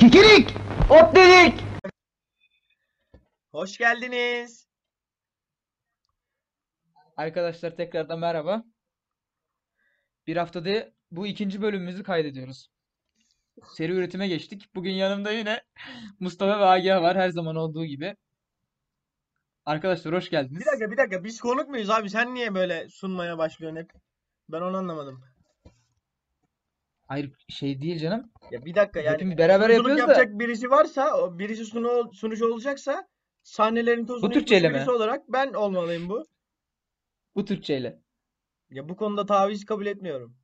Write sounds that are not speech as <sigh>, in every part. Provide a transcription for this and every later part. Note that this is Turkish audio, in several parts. Kirik! Ot dedik! Hoş geldiniz. Arkadaşlar tekrardan merhaba. Bir haftada bu ikinci bölümümüzü kaydediyoruz. Seri üretime geçtik. Bugün yanımda yine Mustafa ve Agah var her zaman olduğu gibi. Arkadaşlar hoş geldiniz. Bir dakika bir dakika biz konuk muyuz abi sen niye böyle sunmaya başlıyorsun hep? Ben onu anlamadım. Hayır şey değil canım. Ya bir dakika yani Hepimiz beraber sunuculuk yapıyoruz da. yapacak birisi varsa o birisi sunu, sunucu olacaksa sahnelerin tozunu yutmuş Türkçeyle mi? birisi olarak ben olmalıyım bu. Bu Türkçeyle. Ya bu konuda taviz kabul etmiyorum.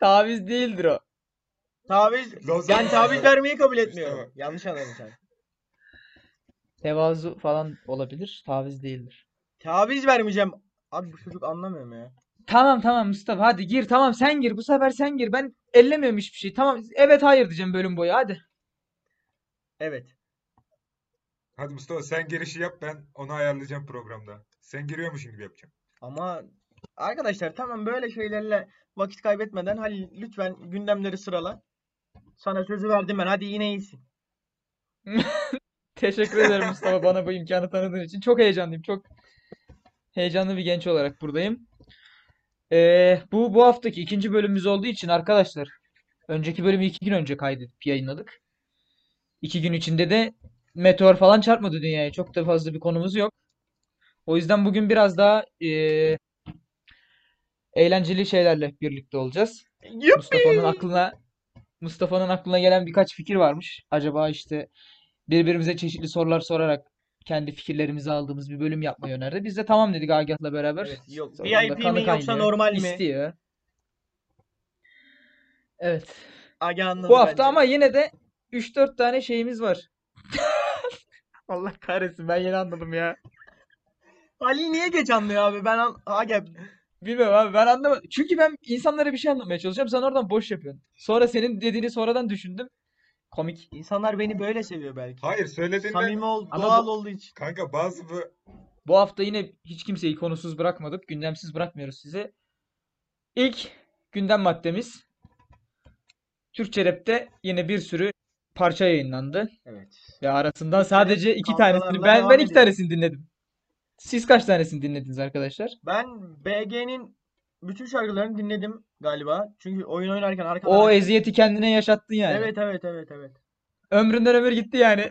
Taviz değildir o. Taviz Zaten- yani taviz vermeyi kabul etmiyorum. Yanlış anladın sen. Tevazu falan olabilir. Taviz değildir. Taviz vermeyeceğim. Abi bu çocuk anlamıyor mu ya? Tamam tamam Mustafa hadi gir tamam sen gir bu sefer sen gir ben ellemiyorum hiçbir şey tamam evet hayır diyeceğim bölüm boyu hadi. Evet. Hadi Mustafa sen girişi yap ben onu ayarlayacağım programda. Sen giriyormuşsun gibi yapacağım. Ama arkadaşlar tamam böyle şeylerle vakit kaybetmeden Halil lütfen gündemleri sırala. Sana sözü verdim ben. Hadi yine iyisin. Teşekkür ederim Mustafa bana bu imkanı tanıdığın için. Çok heyecanlıyım. Çok heyecanlı bir genç olarak buradayım. Ee, bu bu haftaki ikinci bölümümüz olduğu için arkadaşlar önceki bölümü iki gün önce kaydedip yayınladık. İki gün içinde de meteor falan çarpmadı dünyaya. Çok da fazla bir konumuz yok. O yüzden bugün biraz daha ee, eğlenceli şeylerle birlikte olacağız. Mustafa'nın aklına Mustafa'nın aklına gelen birkaç fikir varmış. Acaba işte birbirimize çeşitli sorular sorarak kendi fikirlerimizi aldığımız bir bölüm yapmayı önerdi. Biz de tamam dedik Agah'la beraber. Evet, yok. Sonunda VIP mi kanı yoksa kaynıyor, normal mi? istiyor. Evet. Aga anladı Bu hafta bence. ama yine de 3-4 tane şeyimiz var. Allah kahretsin ben yeni anladım ya. Halil niye geç anlıyor abi? Ben an... Aga Bilmiyorum abi ben anlamadım. Çünkü ben insanlara bir şey anlatmaya çalışıyorum. Sen oradan boş yapıyorsun. Sonra senin dediğini sonradan düşündüm. Komik. insanlar beni böyle seviyor belki. Hayır söylediğinde Samimi ol, Ama doğal bu- olduğu için. kanka bazı bu Bu hafta yine hiç kimseyi konusuz bırakmadık. Gündemsiz bırakmıyoruz sizi. İlk gündem maddemiz Türkçe Rap'te yine bir sürü parça yayınlandı. Evet. Ve arasından sadece iki kavgalarla tanesini ben devam ben iki ediyor. tanesini dinledim. Siz kaç tanesini dinlediniz arkadaşlar? Ben BG'nin bütün şarkılarını dinledim galiba. Çünkü oyun oynarken arkadan O eziyeti kendine yaşattın yani. Evet evet evet evet. Ömründen ömür gitti yani.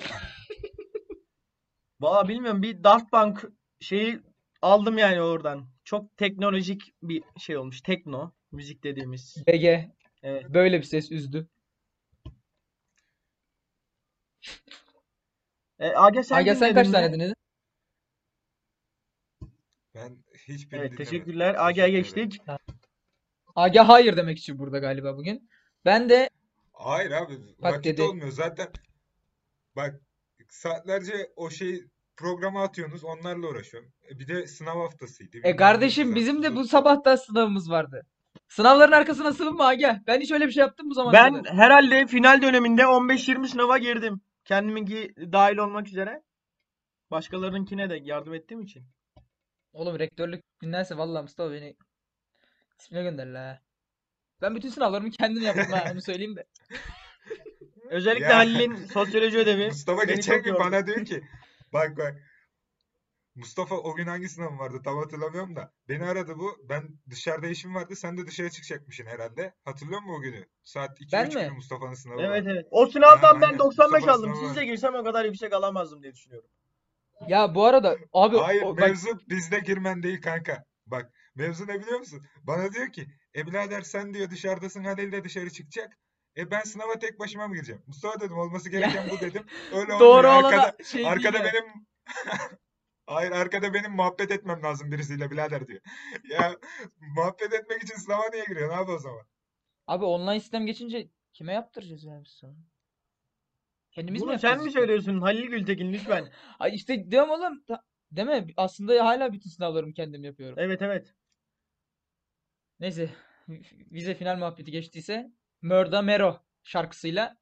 Valla bilmiyorum bir Daft Punk şeyi aldım yani oradan. Çok teknolojik bir şey olmuş. Tekno müzik dediğimiz. BG Evet. böyle bir ses üzdü. E, Aga sen Aga sen dinledin kaç mi? tane dinledin? ben hiçbirini Evet dinlemedim. teşekkürler. Teşekkür Aga'ya ederim. geçtik. Aga hayır demek için burada galiba bugün. Ben de Hayır abi vakit dedi. olmuyor zaten. Bak saatlerce o şey programa atıyorsunuz onlarla uğraşıyorum. E, Bir de sınav haftasıydı. E bilmem kardeşim neydi, bizim de bu zaten. sabah da sınavımız vardı. Sınavların arkasına sığınma Aga. Ben hiç öyle bir şey yaptım bu zamana Ben kadar. herhalde final döneminde 15-20 sınava girdim. Kendiminki dahil olmak üzere. Başkalarınınkine de yardım ettiğim için. Oğlum rektörlük dinlense vallahi Mustafa beni ismine gönder la. Ben bütün sınavlarımı kendim yaptım ha onu söyleyeyim de. Özellikle Ya. Halil'in sosyoloji <laughs> ödevi. Mustafa beni geçen çok gün yordu. bana <laughs> diyor ki bak bak Mustafa o gün hangi sınavım vardı tam hatırlamıyorum da beni aradı bu ben dışarıda işim vardı sen de dışarı çıkacakmışsın herhalde hatırlıyor musun o günü saat 2 Ben 3 mi? gibi Mustafa'nın sınavı Evet var. evet. O sınavdan Ha, ben aynen. 95 Sabah aldım. sınavı Sizce var. girsem o kadar yüksek alamazdım diye düşünüyorum. Ya bu arada abi Hayır o- bak mevzu bizde girmen değil kanka bak mevzu ne biliyor musun bana diyor ki e birader sen diyor dışarıdasın Halil de dışarı çıkacak e ben sınava tek başıma mı gireceğim Mustafa dedim olması gereken bu <laughs> dedim öyle doğru olmuyor olana arkada şey değil Arkada yani. benim <laughs> Hayır arkada benim muhabbet etmem lazım birisiyle birader diyor. <laughs> Ya muhabbet etmek için sınava niye giriyorsun abi o zaman? Abi online sistem geçince kime yaptıracağız yani biz sınavı? Kendimiz mi Bunu sen yapacağız mi işte? söylüyorsun Halil Gültekin lütfen? Ay işte diyorum oğlum. ta- Değil mi? Aslında hala bütün sınavlarımı kendim yapıyorum. Evet evet. Neyse vize final muhabbeti geçtiyse Mörda Mero şarkısıyla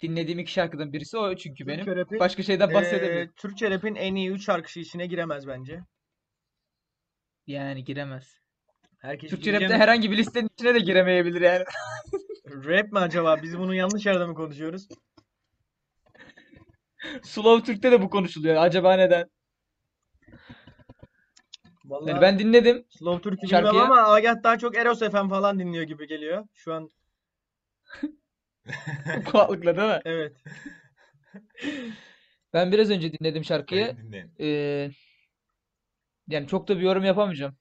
dinlediğim iki şarkıdan birisi o çünkü benim. Türkçe rap'in, Başka <laughs> şeyden bahsedemiyorum. eee, Türkçe rap'in en iyi 3 şarkısı içine giremez bence. Yani giremez. Herkes Türkçe rapte diyeceğim, <laughs> herhangi bir listenin içine de giremeyebilir yani. rap mi acaba? Biz bunu yanlış yerde mi konuşuyoruz? Slow Türk'te de bu konuşuluyor. Acaba neden? Vallahi Yani <laughs> ben dinledim. Slow Türk'ü bilmem şarkıya- ama Agah daha çok Eros FM falan dinliyor gibi geliyor. Şu an Kulaklıkla değil mi? evet. Ben biraz önce dinledim şarkıyı. Kayıt dinleyin. Ee, yani çok da bir yorum yapamayacağım.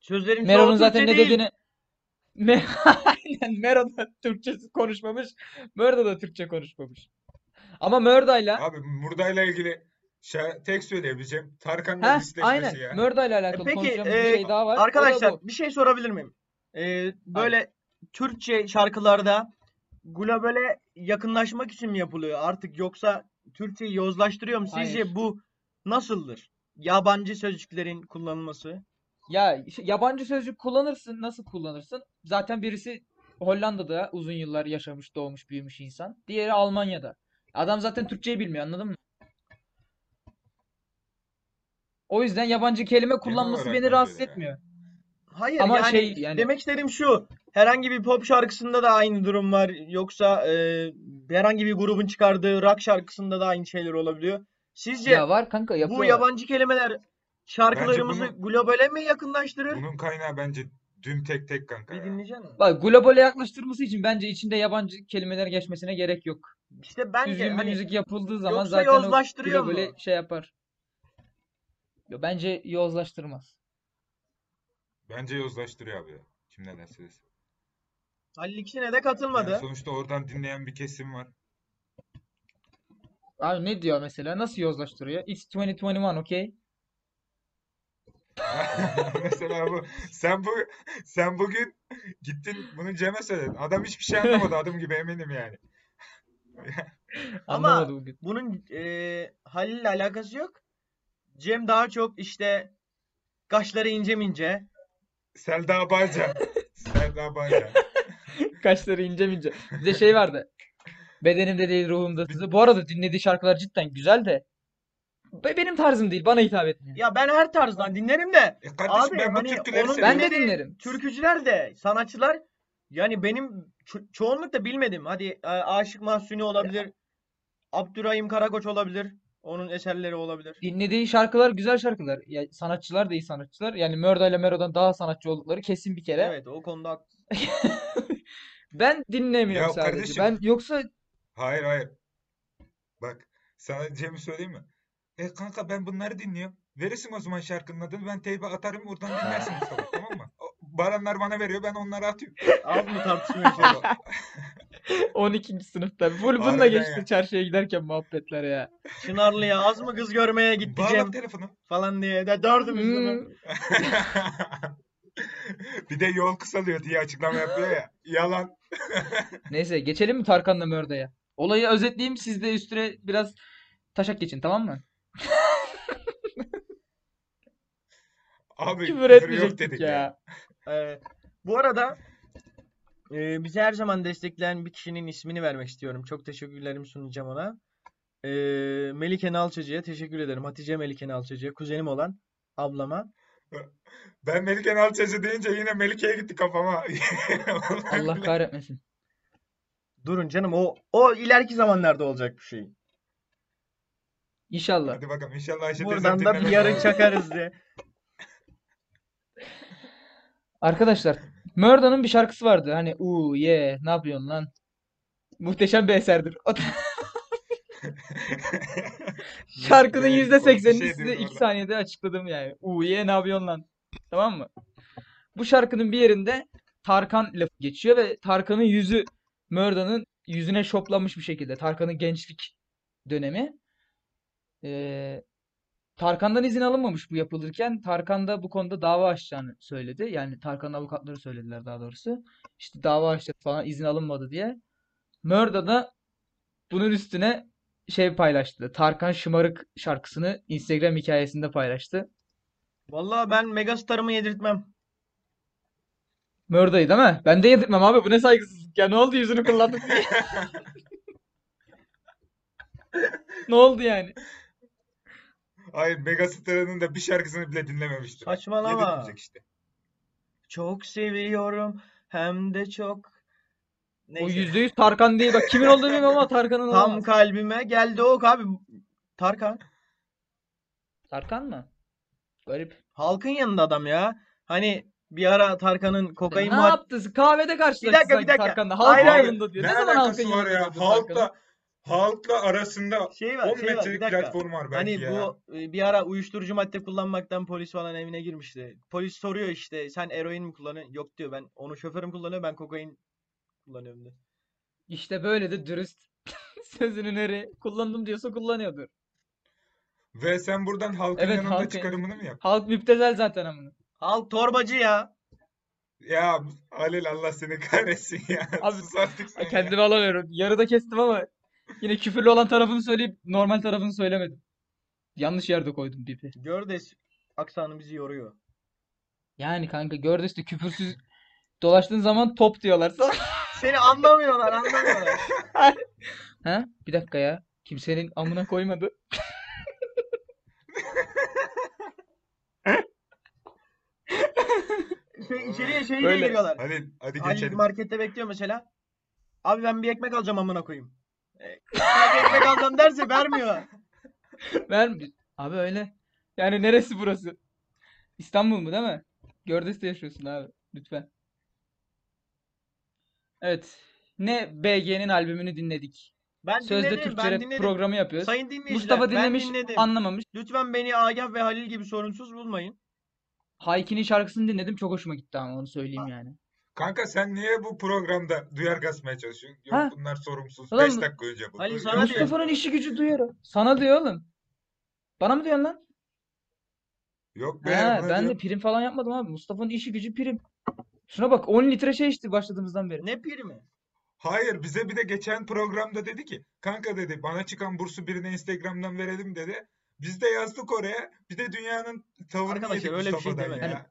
Sözlerin çoğu Meron'un zaten Türkçe ne değil. dediğini Me <laughs> Aynen Mero da Türkçesi konuşmamış. Mörda da Türkçe konuşmamış. Ama Mörda'yla Abi Murda'yla ilgili şa- tek söyleyebileceğim Tarkan'la ha disleşmesi aynen ya. Mörda'yla E alakalı peki konuşacağımız e, bir şey daha var. O da arkadaşlar bu. bir şey sorabilir miyim? E, böyle Türkçe şarkılarda globale yakınlaşmak için mi yapılıyor artık yoksa Türkçeyi yozlaştırıyor mu? Sizce Hayır. bu nasıldır? Yabancı sözcüklerin kullanılması. Ya işte yabancı sözcük kullanırsın, nasıl kullanırsın? Zaten birisi Hollanda'da uzun yıllar yaşamış, doğmuş, büyümüş insan. Diğeri Almanya'da. Adam zaten Türkçeyi bilmiyor, anladın mı? O yüzden yabancı kelime kullanması olarak beni bence rahatsız de ya. etmiyor. Hayır Ama yani şey yani demek istediğim şu. Herhangi bir pop şarkısında da aynı durum var. Yoksa e, herhangi bir grubun çıkardığı rock şarkısında da aynı şeyler olabiliyor. Sizce ya var kanka bu yapıyorlar. yabancı kelimeler şarkılarımızı bunu- globale mi yakınlaştırır? Bunun kaynağı bence düm tek tek kanka Bir ya. dinleyecek misin? Bak globale yaklaştırması için bence içinde yabancı kelimeler geçmesine gerek yok. İşte bence Düzgün bir hani müzik yapıldığı zaman yoksa zaten o yozlaştırıyor mu? globale şey yapar. Yo, bence yozlaştırmaz. Bence yozlaştırıyor abi ya. Kim ne derse desin. Halil ikisine de Yani katılmadı. sonuçta oradan dinleyen bir kesim var. <laughs> Abi ne diyor mesela? Nasıl yozlaştırıyor? It's 2021, okay? Mesela bu sen bu sen bugün gittin bunu Cem'e söyledin. Adam hiçbir şey anlamadı adım gibi eminim yani. Ama- Anlamadı bugün. <laughs> Bunun e, Halil'le alakası yok. Cem daha çok işte kaşları ince mince. <laughs> Selda Bağcan. Selda Bağcan. Kaşları ince mince. Bir de şey vardı. Bedenimde değil ruhumda. Bu arada dinlediği şarkılar cidden güzel de. be- Benim tarzım değil. Bana hitap etmiyor. Ya ben her tarzdan dinlerim de E kardeşim Abi ben bu hani türküleri onun- Ben seviyorum. de Benim- dinlerim. türkücüler de sanatçılar yani benim ço- çoğunlukla bilmedim. Hadi e, Aşık Mahzuni olabilir. Abdurrahim Karakoç olabilir. Onun eserleri olabilir. Dinlediği şarkılar güzel şarkılar. Ya, sanatçılar da iyi sanatçılar. Yani Mörda ile Mero'dan daha sanatçı oldukları kesin bir kere. Evet o konuda hak- Ben dinlemiyorum Ya sadece. kardeşim. Ben yoksa Hayır hayır. Bak sana Cem'i söyleyeyim mi? E kanka ben bunları dinliyorum. Verirsin o zaman şarkının adını ben teybe atarım oradan dinlersin Mustafa tamam mı? O- Baranlar bana veriyor ben onları atıyorum. az mı tartışmıyor şey? Allah. 12. sınıfta. Full bununla Harbiden geçti ya. çarşıya giderken muhabbetler ya. Çınarlı'ya az mı kız görmeye <laughs> gitti Bağla Cem telefonu. falan diye de dördümüz de böyle. Hmm. <laughs> Bir de yol kısalıyor diye açıklama yapıyor ya. Yalan. Neyse geçelim mi Tarkan'la Mörde'ye? Olayı özetleyeyim siz de üstüne biraz taşak geçin tamam mı? Abi Küfür küfür yok etmeyecektik dedik ya. ya. Ee, bu arada e, bizi her zaman destekleyen bir kişinin ismini vermek istiyorum. Çok teşekkürlerimi sunacağım ona. Ee, Melike Nalçacı'ya teşekkür ederim. Hatice Melike Nalçacı'ya kuzenim olan ablama. Ben Melike Nalçacı deyince yine Melike'ye gitti kafama. <laughs> Allah kahretmesin. Durun canım o o ileriki zamanlarda olacak bir şey. İnşallah. Hadi bakalım inşallah Ayşe teyzem Buradan da bir dinlemez. <laughs> yarın çakarız diye. Arkadaşlar Mörda'nın bir şarkısı vardı. Hani u ye ne yapıyorsun lan? Muhteşem bir eserdir. O da- <laughs> Şarkının Değil, yüzde o bir seksenini şey size diyordu iki orada. saniyede açıkladım yani. U ye ne yapıyorsun lan? Tamam mı? Bu şarkının bir yerinde Tarkan lafı geçiyor ve Tarkan'ın yüzü Mörda'nın yüzüne şoplanmış bir şekilde. Tarkan'ın gençlik dönemi. Ee, Tarkan'dan izin alınmamış bu yapılırken. Tarkan da bu konuda dava açacağını söyledi. Yani Tarkan'ın avukatları söylediler daha doğrusu. İşte dava açtı falan izin alınmadı diye. Mörda da bunun üstüne şey paylaştı. Tarkan Şımarık şarkısını Instagram hikayesinde paylaştı. Vallahi ben Megastar'ımı yedirtmem. Mörda'yı değil mi? Ben de yedirtmem abi. Bu ne saygısızlık ya. Ne oldu <laughs> yüzünü kullandık diye. Ne oldu yani? Hayır Megastar'ın da bir şarkısını bile dinlememiştir. Saçmalama. Yedirmeyecek işte. Çok seviyorum hem de çok. O Neyse. %100 Tarkan değil. Bak kimin olduğunu bilmiyorum ama Tarkan'ın Tam olamaz. kalbime geldi ok abi. Tarkan. Tarkan mı? Garip. Halkın yanında adam ya. Hani bir ara Tarkan'ın kokain Ne muhabbeti- yaptınız? Kahvede karşılaştı dakika, sanki bir dakika. Tarkan'la. Hayır, Halk hayır. yanında diyor. Ne Ne zaman halkın alakası var yanında ya? gördün Tarkan'ı? Halkla halkla arasında Şey var, 10 şey var. Bir metrelik dakika. platform var belki Hani ya. bu e, bir ara uyuşturucu madde kullanmaktan polis falan evine girmişti. Polis soruyor işte sen eroin mi kullanıyorsun? Yok diyor ben onu şoförüm kullanıyor ben kokain kullanıyorum diyor. İşte böyle de dürüst. <laughs> Sözünün eri. Kullandım diyorsa kullanıyordur. Ve sen buradan halkın Evet, yanında halkın- çıkarımını mı yap? Halk müptezel zaten amına. Halk torbacı ya. Ya Halil Allah seni kahretsin ya. Abi, <laughs> Sus artık sen ya. Kendimi alamıyorum. Yarıda kestim ama yine küfürlü olan tarafını söyleyip normal tarafını söylemedim. Yanlış yerde koydum bipi. Gördes aksanı bizi yoruyor. Yani kanka gördü işte küfürsüz dolaştığın zaman top <laughs> diyorlar sana. Seni anlamıyorlar <laughs> anlamıyorlar. Ha? Bir dakika ya. Kimsenin amına koymadı. Şey, içeriye şeyle Böyle. giriyorlar. Halil hadi Ali geçelim. markette bekliyor mesela. Abi ben bir ekmek alacağım amına koyayım. E, sadece ekmek alacağım derse vermiyor. Ver Abi öyle. Yani neresi burası? İstanbul mu değil mi? Gördes'te yaşıyorsun abi. Lütfen. Evet. Ne BG'nin albümünü dinledik. Ben Sözde dinledim, Türkçe ben rap dinledim. programı yapıyoruz. Sayın dinleyiciler, Mustafa ben dinlemiş, dinledim. anlamamış. Lütfen beni Agah ve Halil gibi sorunsuz bulmayın. Hayki'nin şarkısını dinledim. Çok hoşuma gitti ama onu söyleyeyim yani. Kanka sen niye bu programda duyar kasmaya çalışıyorsun? Yok Ha? bunlar sorumsuz. Ulan 5 bu- dakika önce bu. Halil Yok, sana şey diyor. Mustafa'nın işi gücü duyuyorum. Sana diyor oğlum. Bana mı diyorsun lan? Yok be. He, buna ben de diyor. prim falan yapmadım abi. Mustafa'nın işi gücü prim. Şuna bak 10 litre şey içti başladığımızdan beri. Ne piri mi? Hayır bize bir de geçen programda dedi ki kanka dedi bana çıkan bursu birine Instagram'dan verelim dedi. Biz de yazdık oraya. Bir de dünyanın tavrını Arkadaşlar yedik öyle bir şey Mustafa'dan demedim. ya. Yani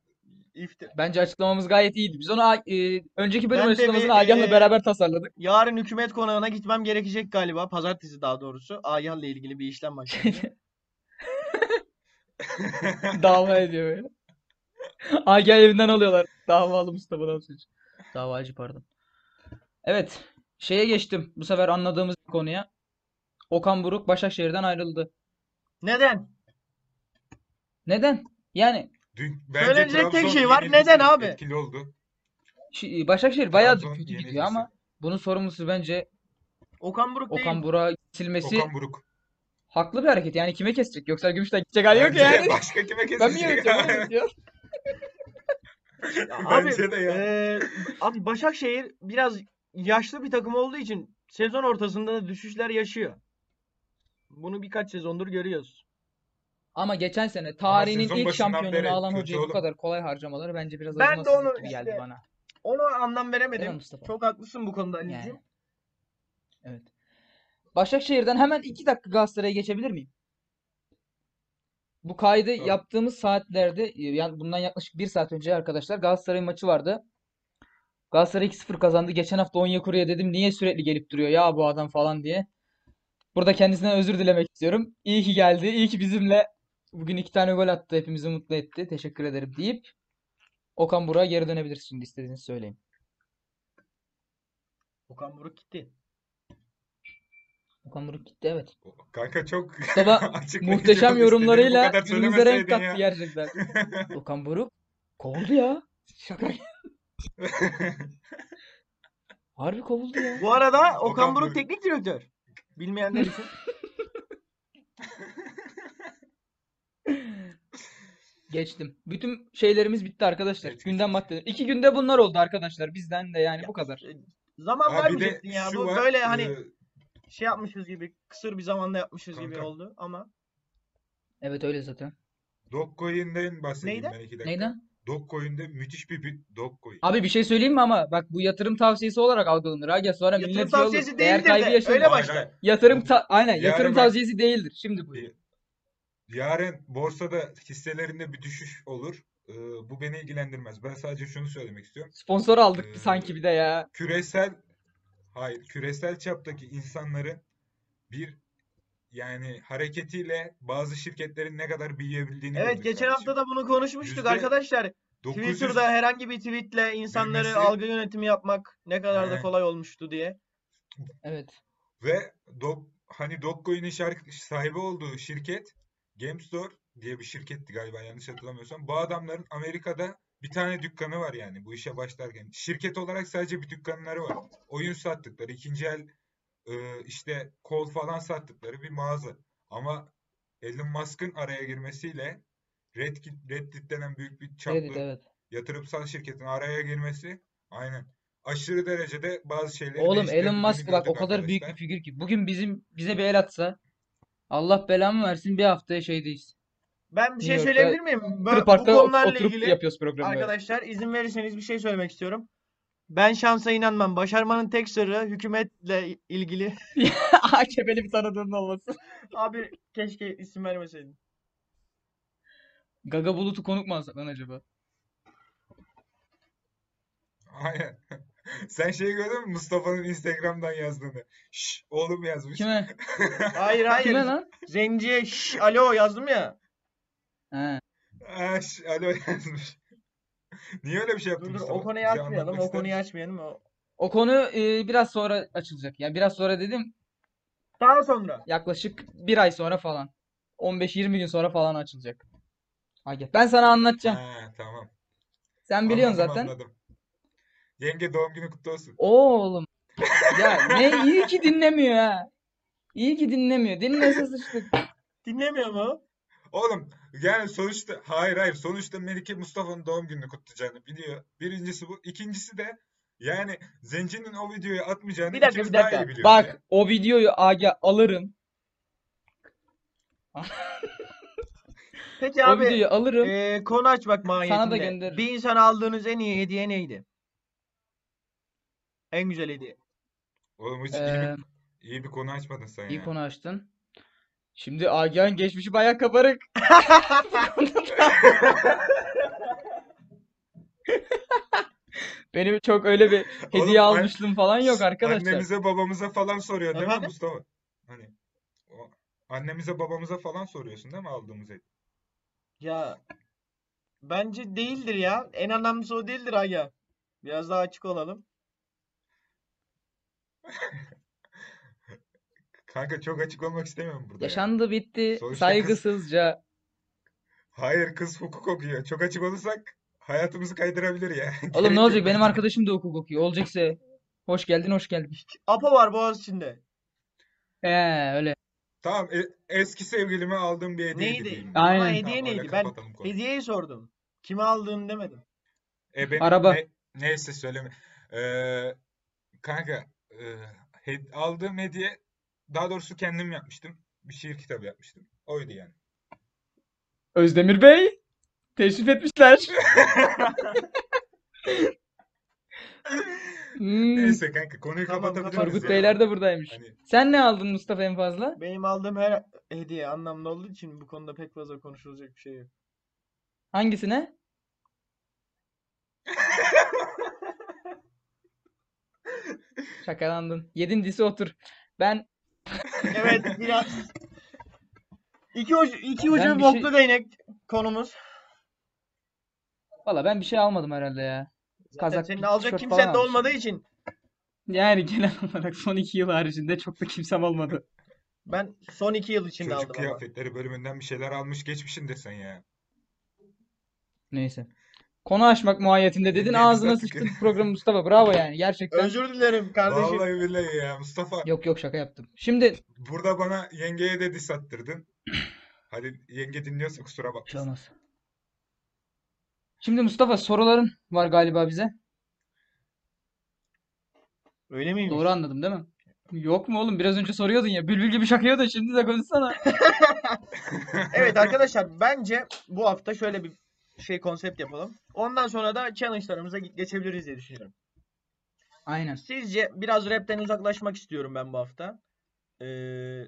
İftir. Bence açıklamamız gayet iyiydi. Biz onu a- e, önceki bölüm Ben de açıklamasını bir, Agah'la e, <laughs> beraber tasarladık. Yarın hükümet konağına gitmem gerekecek galiba. Pazartesi daha doğrusu. Agah'la ilgili bir işlem başladı. <laughs> Dava ediyor böyle. Agah evinden alıyorlar. Davalı Mustafa'dan söz. Davacı pardon. Evet. Şeye geçtim. Bu sefer anladığımız konuya. Okan Buruk Başakşehir'den ayrıldı. Neden? Neden? Yani Dün bence Söylenecek tek Trabzon şey var. yenilgisi Neden abi? Etkili oldu. şi- Başakşehir bayağı Trabzon kötü gidiyor yenilgisi. ama bunun sorumlusu bence Okan Buruk Okan değil. Buruk'a silmesi Okan Buruk. haklı bir hareket. Yani kime kesecek? Yoksa Gümüş'ten gidecek hali yok Bence <laughs> yani. Başka kime Ben mi kesecek? yönetiyorum? <laughs> ben mi yönetiyorum? Ya Bence de ya. e, eee, e, abi Başakşehir biraz yaşlı bir takım olduğu için sezon ortasında da düşüşler yaşıyor. Bunu birkaç sezondur görüyoruz. Ama geçen sene tarihinin sezon ilk başından şampiyonunu beri alan kötü hocayı bu oğlum. kadar kolay harcamaları bence biraz Ben de acımasızlık onu gibi geldi işte- bana. Onu anlam Değil mi veremedim. Mustafa? Çok haklısın bu konuda Yani. Ali'ciğim. Evet. Başakşehir'den hemen iki dakika Galatasaray'a geçebilir miyim? Bu kaydı Tabii. yaptığımız saatlerde e, yani bundan yaklaşık bir saat önce arkadaşlar Galatasaray'ın maçı vardı. Galatasaray 2-0 kazandı. Geçen hafta Onyekuru'ya dedim niye sürekli gelip duruyor ya bu adam falan diye. Burada kendisinden özür dilemek istiyorum. İyi ki geldi. iyi ki bizimle bugün iki tane gol attı. Hepimizi mutlu etti. Teşekkür ederim deyip Okan Burak'a geri dönebiliriz şimdi istediğinizi söyleyin. Okan Buruk gitti. Okan Buruk gitti evet. Kanka <laughs> çok <laughs> Mustafa açıklayıcı Muhteşem oldu. İstediğini yorumlarıyla bu kadar günümüze renk söylemeseydin ya. kattı <laughs> gerçekten. Okan Buruk kovuldu ya. Şaka. Harbi kovuldu ya. Bu arada Okan Okan Buruk Buruk. teknik direktör. Bilmeyenler için. Geçtim. Bütün şeylerimiz bitti arkadaşlar. Evet, Gündem geçtik. maddeleri. İki günde bunlar oldu arkadaşlar. Bizden de yani bu kadar. E, Zaman <laughs> Ha, bir de vermeyecektin ya. şu Bu var, böyle hani e, şey yapmışız gibi kısır bir zamanda yapmışız gibi Kanka. oldu ama Evet öyle zaten. Dokkoyun'dan bahsedeyim Neyden? ben iki dakika. Neyden? Dokkoyun'da müthiş bir bir Dokkoyun. Abi bir şey söyleyeyim mi ama bak bu yatırım tavsiyesi olarak algılanır. Aga sonra Yatırım millet şey olur. tavsiyesi Değer değildir kaybı de, yaşanır. öyle bak- Hayır, başla. hayır. Yatırım ta- aynen Yarın yatırım bak- tavsiyesi değildir. Şimdi buyur. Yarın borsada hisselerinde bir düşüş olur. E, bu beni ilgilendirmez. Ben sadece şunu söylemek istiyorum. Sponsor aldık Ee, sanki bir de ya. Küresel, hayır, küresel çaptaki insanların bir yani hareketiyle bazı şirketlerin ne kadar büyüyebildiğini evet gördük geçen kardeşim. hafta da bunu konuşmuştuk Yüzde- arkadaşlar. 900 Twitter'da herhangi bir tweetle insanları Bilmesi- algı yönetimi yapmak ne kadar da Aynen. kolay olmuştu diye. Evet. ve Dog, hani Dogcoin'in şark- sahibi olduğu şirket GameStore diye bir şirketti galiba yanlış hatırlamıyorsam. Bu adamların Amerika'da bir tane dükkanı var yani bu işe başlarken. Şirket olarak sadece bir dükkanları var. Oyun sattıkları, ikinci el e, işte kol falan sattıkları bir mağaza. Ama Elon Musk'ın araya girmesiyle Reddit, Reddit denen büyük bir çaplı Reddit evet. yatırımsal şirketin araya girmesi aynen aşırı derecede bazı şeyleri Oğlum Elon değiştirebildiğini Musk bak o gördük kadar büyük bir arkadaşlar. figür ki. Bugün bizim bize bir el atsa Allah belamı versin bir haftaya şeydeyiz. Ben bir şey New York'ta söyleyebilir miyim? Bu, Trip bu Park'ta konularla oturup ilgili yapıyoruz programı böyle. <laughs> arkadaşlar izin verirseniz bir şey söylemek istiyorum. Ben şansa inanmam. Başarmanın tek sırrı hükümetle ilgili. <laughs> AKP'li bir tanıdığın olması. Abi keşke isim vermeseydin. Gaga Bulut'u konuk mu alsak lan acaba? Aynen. <laughs> Sen şeyi gördün mü Mustafa'nın Instagram'dan yazdığını? Şş, oğlum yazmış. <laughs> Kime? Hayır hayır. Kime lan? Zenciye şş alo yazdım ya. He. Aa, şş, alo yazmış. Niye öyle bir şey yaptın Dur dur Mustafa? o konuyu Bize açmayalım. anlatmak O ister konuyu misin? açmayalım. O... O konu e, biraz sonra açılacak. Yani biraz sonra dedim Daha sonra. yaklaşık bir ay sonra falan. 15-20 gün sonra falan açılacak. Aga, ben sana anlatacağım. Ha, tamam. Sen biliyorsun Anladım, zaten. anladım. Yenge doğum günü kutlu olsun. Oğlum. Ya ne iyi ki dinlemiyor ha. İyi ki dinlemiyor. Dinlese sıçtık. Dinlemiyor mu? Oğlum yani sonuçta hayır hayır sonuçta Melike Mustafa'nın doğum gününü kutlayacağını biliyor. Birincisi bu. İkincisi de yani Zenci'nin o videoyu atmayacağını Bir dakika, ikimiz bir daha iyi dakika. biliyoruz Bak yani. o videoyu aga alırım. Peki O abi. videoyu alırım. Ee, konu açmak mahiyetinde. Sana da gönderirim. Bir insana aldığınız en iyi hediye neydi? En güzel hediye. Oğlum hiç iyi bir, Ee, iyi bir konu açmadın sen iyi ya. konu açtın. Şimdi Agah'ın geçmişi bayağı kabarık. Benim çok öyle bir hediye Oğlum, an- almışlığım falan yok arkadaşlar. Annemize babamıza falan soruyor değil mi Efendim? Mustafa? Hani o, annemize babamıza falan soruyorsun değil mi aldığımız hediye? Ya bence değildir ya. En önemlisi o değildir Aga. Biraz daha açık olalım. Kanka çok açık olmak istemiyorum burada ya. Yaşandı bitti Sonuçta kız- saygısızca. Hayır kız hukuk okuyor. Çok açık olursak hayatımızı kaydırabilir ya. Oğlum <laughs> Gerek ne yok olacak benim bence. arkadaşım da hukuk okuyor. Olacaksa hoş geldin hoş geldin. Apo var Boğaziçi'nde. He öyle. Tamam e- eski sevgilime aldığım bir hediyeydi Neydi? diyeyim. Aynen. Ama Tamam, hediye öyle neydi? Ben kapatalım konuyu. hediyeyi sordum. Kime aldığını demedim. E benim Araba. ne- neyse söyleme. Ee, kanka e, he- aldığım hediye daha doğrusu kendim yapmıştım. Bir şiir kitabı yapmıştım. Oydu yani. Özdemir Bey <laughs> teşrif etmişler. Hmm, Neyse kanka konuyu Tamam, kapatabiliriz kapat. Turgut ya. Beyler de buradaymış. Hani Sen ne aldın Mustafa en fazla? Benim aldığım her hediye anlamlı olduğu için bu konuda pek fazla konuşulacak bir şey yok. Hangisine? <laughs> Şakalandın. Yedincisi otur. Ben Evet <laughs> biraz. İki ucu, iki ucu Ben bir boklu şey- değnek konumuz. valla ben bir şey almadım herhalde ya. Zaten Kazak, senin bir alacak tişört kimsen falan de almışım. olmadığı için Yani genel <laughs> olarak son iki yıl haricinde çok da kimsem olmadı. ben son iki yıl içinde çocuk aldım ama. kıyafetleri bölümünden bir şeyler almış geçmişindir sen ya. Neyse. Konu açmak muhayyetinde dedin Yediğimiz ağzına artık- sıçtın programı Mustafa. Bravo yani gerçekten. Özür dilerim kardeşim. Vallahi billahi ya Mustafa. Yok yok şaka yaptım. Şimdi Burada bana yengeye de diss attırdın. Hadi yenge dinliyorsa kusura Bir şey bakmasın. olmaz. Şimdi Mustafa soruların var galiba bize. Öyle miymiş? <laughs> Doğru anladım değil mi? Yok mu oğlum? Biraz önce soruyordun ya. Bülbül gibi şakıyordun. Şimdi de konuşsana. <laughs> Evet arkadaşlar bence bu hafta şöyle bir şey konsept yapalım. Ondan sonra da challenge'larımıza ge- geçebiliriz diye düşünüyorum. Aynen. Sizce biraz rapten uzaklaşmak istiyorum ben bu hafta. Ee,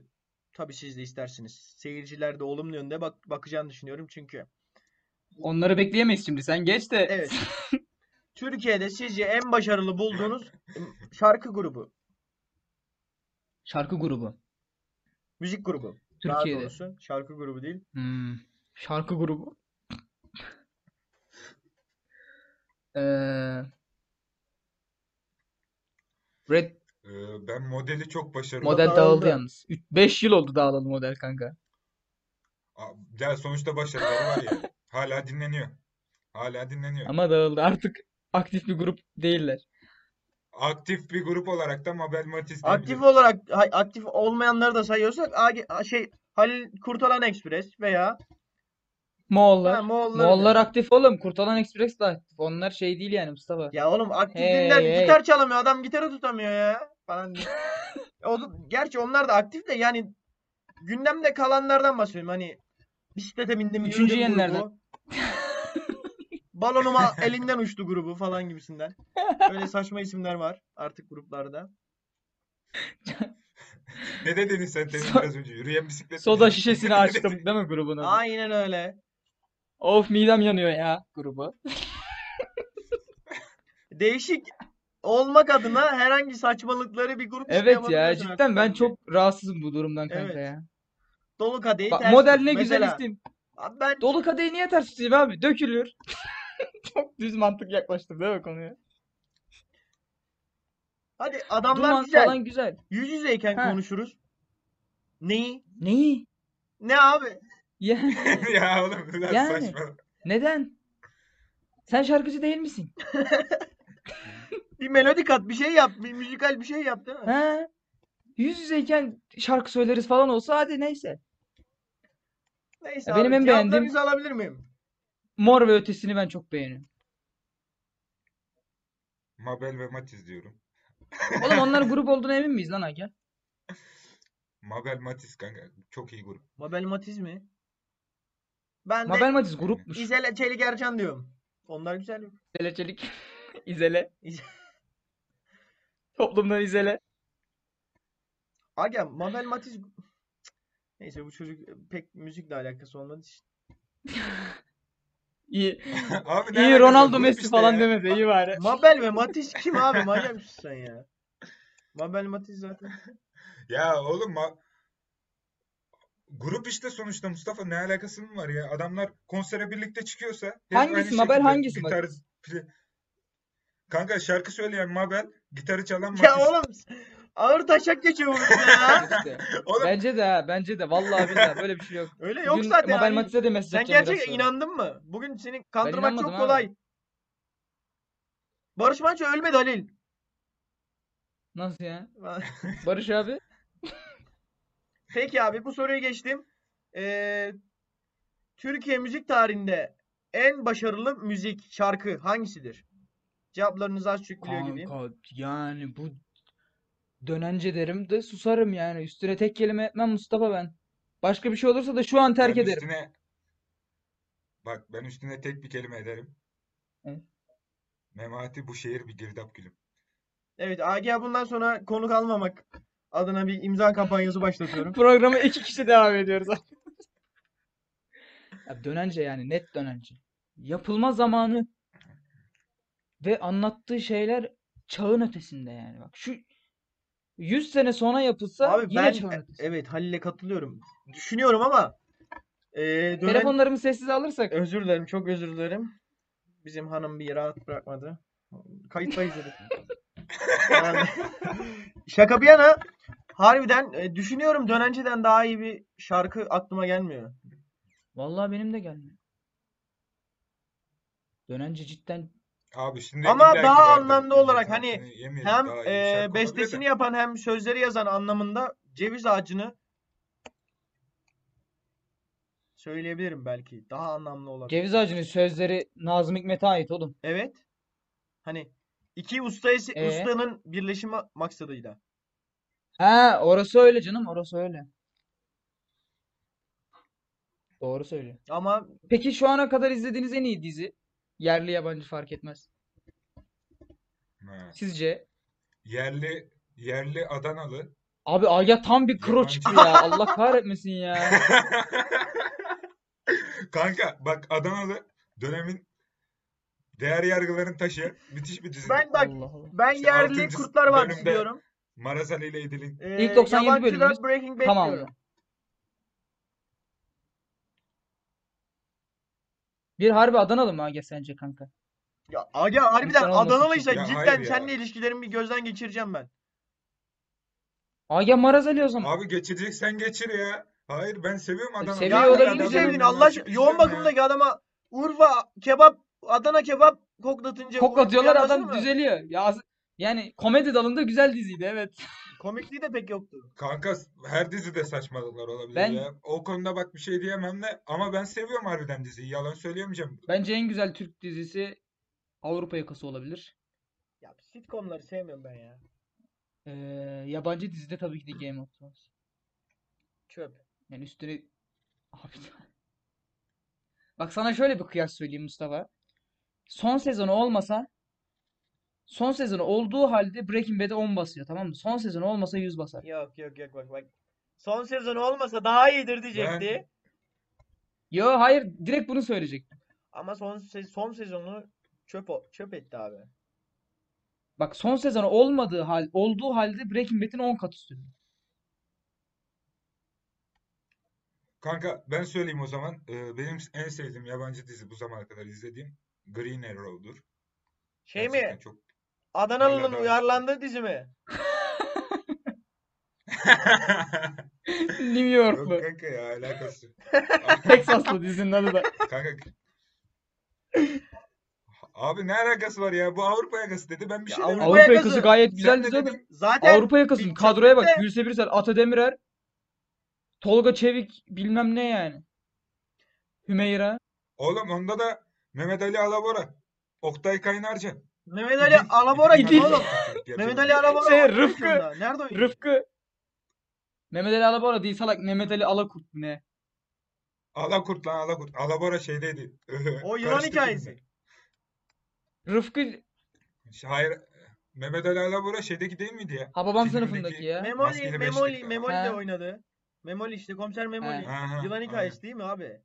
tabii siz de istersiniz. Seyirciler de olumlu yönde bak bakacağını düşünüyorum çünkü. Onları bekleyemeyiz şimdi. Sen geç de. <laughs> Evet. Türkiye'de sizce en başarılı bulduğunuz şarkı grubu, Şarkı grubu. müzik grubu. Daha Türkiye'de. doğrusu şarkı grubu değil. Hmm. Şarkı grubu. <laughs> Ee, Red Ee, ben modeli çok başarılı. model dağıldı. dağıldı yalnız. 5 yıl oldu dağılalı model kanka. Aa, Ya sonuçta başarıları var ya. Hala dinleniyor. Hala dinleniyor. Ama dağıldı. Artık aktif bir grup değiller. Aktif bir grup olarak da Mabel Matiz Aktif diyebiliriz. olarak hay- aktif olmayanları da sayıyorsak AG a- şey Halil Kurtalan Express veya Moğollar. ha, Moğollar. Moğollar aktif oğlum. Kurtalan Express de aktif. Onlar şey değil yani Mustafa. Ya oğlum aktif Hey, dinler hey. gitar çalamıyor adam gitarı tutamıyor ya falan. <laughs> diye. o, da- gerçi onlar da aktif de yani gündemde kalanlardan bahsediyorum hani bisiklete bindim Üçüncü yürüdüm yenilerden. grubu. <laughs> Balonuma elinden uçtu grubu falan gibisinden. Böyle saçma isimler var artık gruplarda. Ne dedin sen demin So- biraz önce? Yürüyen bisiklet <laughs> mi <laughs> Soda <laughs> dedin? şişesini açtım değil mi grubun adı? Aynen öyle. Of midem yanıyor ya grubu. değişik olmak adına herhangi saçmalıkları bir grup içinde Evet ya yapabiliyorsun cidden ben hakikaten. çok rahatsızım bu durumdan kanka Evet. ya. dolu kadehi Bak ters model tut. ne güzel Mesela isim. abi ben Dolu kadehi niye ters tutayım abi? Dökülür. <laughs> Çok düz mantık yaklaştım değil mi konuya? hadi adamlar Duman güzel. falan güzel. Yüz yüzeyken Ha. konuşuruz. Neyi? Neyi? Ne abi? Ya <laughs> Ya oğlum biraz Yani. saçma. neden? Sen şarkıcı değil misin? Bir melodik at, bir şey yap, bir müzikal bir şey yap değil mi? Ha? Yüz yüzeyken şarkı söyleriz falan olsa hadi neyse. Neyse Ya abi, benim en beğendiğim- cevaplarınızı alabilir miyim? Mor ve Ötesi'ni ben çok beğeniyorum. Mabel ve Matiz diyorum. Oğlum onlar grup olduğuna emin miyiz lan Aga? Mabel Matiz kanka çok iyi grup. Mabel Matiz mi? Ben Mabel de Matiz grupmuş. İzel Çelik Ercan diyorum. Onlar güzel mi? İzele Çelik. <laughs> İzele. İze- Toplumdan izele. Aga Mabel Matiz Cık. Neyse bu çocuk pek müzikle alakası olmadığı için. İyi, Abi ne iyi alakası var? Ronaldo Grup Messi işte falan ya. demese iyi bari. Mabel ve Matiz kim abi? Manyak mısın sen ya? Mabel Matiz zaten. Ya oğlum ma- grup işte sonuçta Mustafa ne alakası mı var ya? Adamlar konsere birlikte çıkıyorsa hep aynı Hangisi Mabel, şekilde hangisi gitar- Matiz? pli- Kanka şarkı söyleyen Mabel, gitarı çalan Ya Matiz. oğlum ağır taşak geçiyor bu kız ya. İşte. Oğlum <laughs> Bence de ha, bence de. Vallahi billahi böyle bir şey yok. Öyle yok Bugün zaten. Mabel hani. Matiz'e de mesaj sen atacağım biraz gerçekten sonra. inandın mı? Bugün seni kandırmak inanmadım çok abi. kolay. Barış Manço ölmedi Halil. <laughs> Nasıl ya? Barış abi? Peki abi bu soruyu geçtim. Ee, Türkiye müzik tarihinde en başarılı müzik şarkı hangisidir? Cevaplarınızı az çok biliyor gibiyim. Kanka yani bu dönence derim de susarım yani. Üstüne tek kelime etmem Mustafa ben. Başka bir şey olursa da şu an terk ben ederim. üstüne bak ben üstüne tek bir kelime ederim. Hı. Memati bu şehir bir girdap gülüm. Evet AGA bundan sonra konuk almamak adına bir imza kampanyası başlatıyorum. Programa iki kişi <laughs> devam ediyoruz. Ya dönence yani net dönence. Yapılma zamanı ve anlattığı şeyler çağın ötesinde yani. Bak şu 100 sene sonra yapılsa Abi yine ben çağın e- ötesi. evet Halil'e katılıyorum. Düşünüyorum ama e, dönen- Telefonlarımı sessiz alırsak özür dilerim çok özür dilerim. Bizim hanım bir rahat bırakmadı. Kayıttayız dedi. Yani- şaka bir yana harbiden e, düşünüyorum dönenceden daha iyi bir şarkı aklıma gelmiyor. vallahi benim de gelmiyor. Dönence cidden Abi şimdi Ama illaki daha vardır. anlamlı İlla olarak ki hani hakkını yemeyelim. Hem Daha iyi e, şarkı olabilir de. bestesini yapan hem sözleri yazan anlamında ceviz ağacını söyleyebilirim belki. Daha anlamlı olabilir. Ceviz Ağacı'nın sözleri Nazım Hikmet'e ait oğlum. Evet. Hani iki usta esi- Ee? ustanın birleşimi maksadıyla. Ha orası öyle canım orası öyle. Doğru söylüyor. Ama Peki şu ana kadar izlediğiniz en iyi dizi? Yerli yabancı fark etmez. Ha. Sizce? Yerli yerli Adanalı. Abi Agah tam bir kro Yabancı. çıktı ya. Allah kahretmesin ya. <laughs> Kanka bak Adanalı dönemin değer yargıların taşı. Müthiş bir dizidir. ben bak <laughs> Allah Allah. ben İşte yerli altıncı Kurtlar Vadisi bölümde- diyorum. Maraz Ali ile İdil'in. Ee, İlk 97 yabancıda bölümümüz Breaking Bad Tamam. diyorum. Bir harbi Adanalı mı Agah sence kanka? Ya aga harbiden İnsan olması Adanalıysa için. Ya cidden hayır ya. seninle ilişkilerimi bir gözden geçireceğim ben. Aga Maraz Ali o zaman. Abi geçeceksen geçir ya. Hayır ben seviyorum Adana. seviyor Ya olabilir neyini Adana'nın sevdin Allah aşkına? Yoğun bakımdaki adama Urfa kebap, Adana kebap koklatınca Koklatıyorlar Urfa'yı adam anlasana. düzeliyor. Ya, as- yani komedi dalında güzel diziydi evet. Komikliği de pek yoktu. Kanka her dizide saçmalıklar olabilir Ben- ya. O konuda bak bir şey diyemem de ama ben seviyorum harbiden diziyi. Yalan söyleyemeyeceğim. Bence en güzel Türk dizisi Avrupa Yakası olabilir. Ya sitcomları sevmiyorum ben ya. Ee, yabancı dizide tabii ki de Game of Thrones. Çöp. Yani üstüne... Abi Bak sana şöyle bir kıyas söyleyeyim Mustafa. Son sezonu olmasa son sezonu olduğu halde Breaking Bad'e 10 basıyor tamam mı? Son sezonu olmasa 100 basar. Yok yok yok bak bak. Son sezon olmasa daha iyidir diyecekti. Yo hayır direkt bunu söyleyecektim. Ama son se- son sezonu çöp o- çöp etti abi. Bak son sezonu olmadığı hal olduğu halde Breaking Bad'in 10 kat üstünde. <laughs> Kanka ben söyleyeyim o zaman. Ee, benim en sevdiğim yabancı dizi bu zamana kadar izlediğim Green Arrow'dur. Şey Gerçekten mi? çok <laughs> Adanalı'nın Öyle uyarlandığı dizi mi? New Yok York'lu. kanka ya alakası. yok. Texas'lı dizinin adı <laughs> da. Kanka. Abi ne alakası var ya? Bu Avrupa yakası dedi. Ben bir Ya şey demedim. Avrupa Avrupa Yakası. Yakası gayet Sen güzel de dizi oğlum. dedim, Zaten Avrupa Yakası'nın bir kadroya bak. çekimde- Gülse Birsel, Ata Demirer, Tolga Çevik bilmem ne yani. Hümeyra. Oğlum onda da Mehmet Ali Alabora. Oktay Kaynarca. Mehmet Ali İdil- Alabora İdil- gibi İdil- oğlum. Gerçi Mehmet bu- Ali Alabora Şey, var Rıfkı- aslında. Nerede oynuyor? Rıfkı. Mehmet Ali Alabora değil salak. Mehmet Ali Alakurt mu ne? Alakurt lan Alakurt. Alabora şeydeydi. <laughs> O Yunan Karıştırdım hikayesi. Rıfkı ben. Şey, Hayır. Mehmet Ali Alabora şeydeki değil miydi ya? Hababam Filmdeki- sınıfındaki ya. Memoli, Maskeli Memoli, Beşik'te. Memoli de He. oynadı. Memoli işte komiser Memoli. He. Aha, Yılan aynen. hikayesi değil mi abi?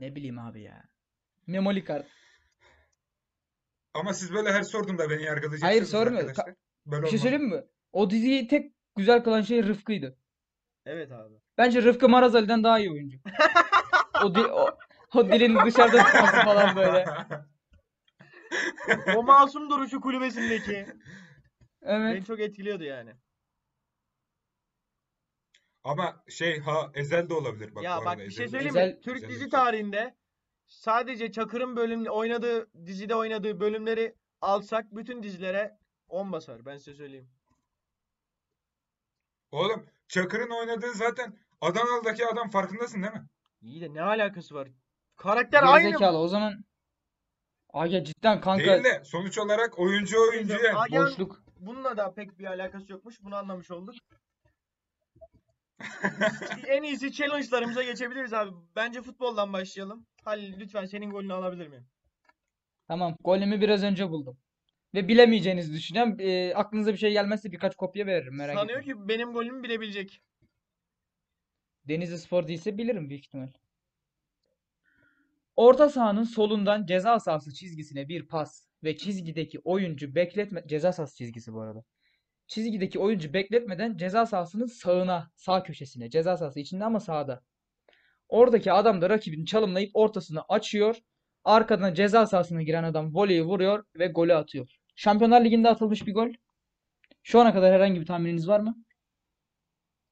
Ne bileyim abi ya. Memoli kart. Ama siz böyle her sorduğumda beni yargılayacaksınız Hayır, sormuyorum. arkadaşlar. Böyle Bir şey olmaz. söyleyeyim mi? O diziyi tek güzel kılan şey Rıfkı'ydı. Evet abi. Bence Rıfkı Maraz Ali'den daha iyi oyuncu. O, di- o, o dilin dışarıda tutması falan böyle. <laughs> O masum duruşu kulübesindeki. Evet. Beni çok etkiliyordu yani. Ama şey ha Ezel de olabilir bak bu Ya arada bak bir şey Ezel de söyleyeyim Güzel- mi? Türk güzel dizi bir şey. tarihinde sadece Çakır'ın bölüm oynadığı dizide oynadığı bölümleri alsak bütün dizilere 10 basar ben size söyleyeyim. Oğlum Çakır'ın oynadığı zaten Adanalı'daki adam farkındasın değil mi? İyi de ne alakası var? Karakter aynı mı? Gerizekalı o zaman. Aga cidden kanka Değil de sonuç olarak oyuncu oyuncu yani. Aga, boşluk. bununla da pek bir alakası yokmuş. Bunu anlamış olduk. En iyisi challenge'larımıza geçebiliriz abi. Bence futboldan başlayalım. Halil lütfen senin golünü alabilir miyim? Tamam, golümü biraz önce buldum. Ve bilemeyeceğinizi düşünüyorum. Ee, aklınıza bir şey gelmezse birkaç kopya veririm merak Sanıyor etmeyin. ki benim golümü bilebilecek. Denizli Spor değilse bilirim büyük ihtimal. Orta sahanın solundan ceza sahası çizgisine bir pas ve çizgideki oyuncu bekletme ceza sahası çizgisi bu arada. Çizgideki oyuncu bekletmeden ceza sahasının sağına, sağ köşesine, ceza sahası içinde ama sağda. Oradaki adam da rakibini çalımlayıp ortasını açıyor. Arkadan ceza sahasına giren adam voleyi vuruyor ve golü atıyor. Şampiyonlar Ligi'nde atılmış bir gol. Şu ana kadar herhangi bir tahmininiz var mı?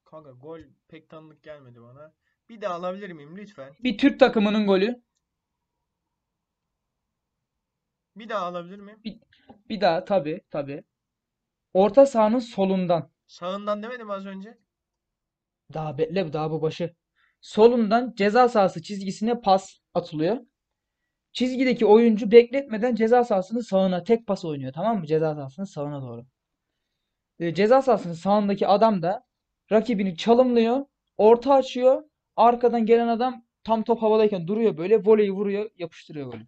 Kanka gol pek tanıdık gelmedi bana. Bir daha alabilir miyim lütfen? Bir Türk takımının golü. Bir daha alabilir miyim? Bir daha tabii tabii. Orta sahanın solundan. Sağından demedim az önce. Daha bekle daha bu başı. Solundan ceza sahası çizgisine pas atılıyor. Çizgideki oyuncu bekletmeden ceza sahasının sağına tek pas oynuyor tamam mı? Ceza sahasının sağına doğru. E, ceza sahasının sağındaki adam da rakibini çalımlıyor. Orta açıyor. Arkadan gelen adam tam top havadayken duruyor böyle. Voleyi vuruyor yapıştırıyor golü.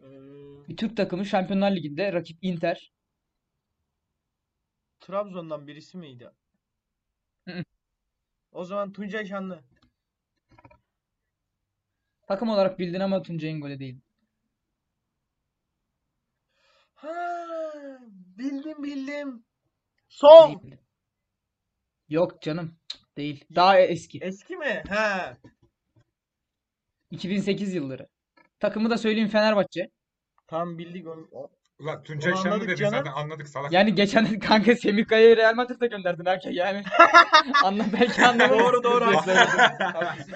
Ee, Bir Türk takımı Şampiyonlar Ligi'nde rakip Inter. Trabzon'dan birisi miydi? Hı. O zaman Tuncay Şanlı. Takım olarak bildin ama Tuncay'ın golü değil. Ha, bildim bildim. Sol. Değil. Yok canım. Cık, Değil. Daha eski. Eski mi? He. 2008 yılları. Takımı da söyleyeyim Fenerbahçe. Tam bildik onu. o- Ulan Tuncay Ulan Şanlı anladık dedin canım. zaten anladık salak. Yani geçen <laughs> kanka Semih Kaya'yı Real Madrid'e gönderdin <laughs> erkek yani. Anla belki anlamadın. Doğru doğru haklısın.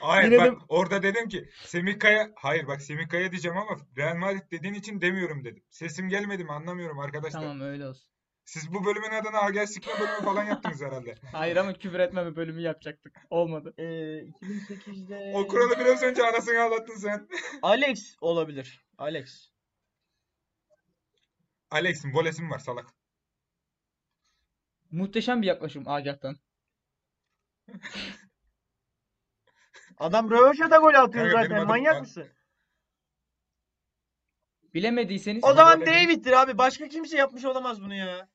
Hayır Yine bak de- orada dedim ki Semih Kaya hayır bak Semih Kaya diyeceğim ama Real Madrid dediğin için demiyorum dedim. Sesim gelmedi mi anlamıyorum <laughs> arkadaşlar. Tamam öyle olsun. Siz bu bölümün adına Agel Sikme bölümü falan yaptınız herhalde. Hayır ama küfür etme bir bölümü yapacaktık. Olmadı. Ee, 2008'de O kuralı biraz önce anasını ağlattın sen. Alex olabilir. Alex. Alex'in volesim var salak. Muhteşem bir yaklaşım Agah'tan. Adam röveşata gol atıyor Kanka, benim zaten. adım- Manyak mısın? Bilemediyseniz O Sana zaman böyle bir- David'tir abi. Başka kimse yapmış olamaz bunu ya.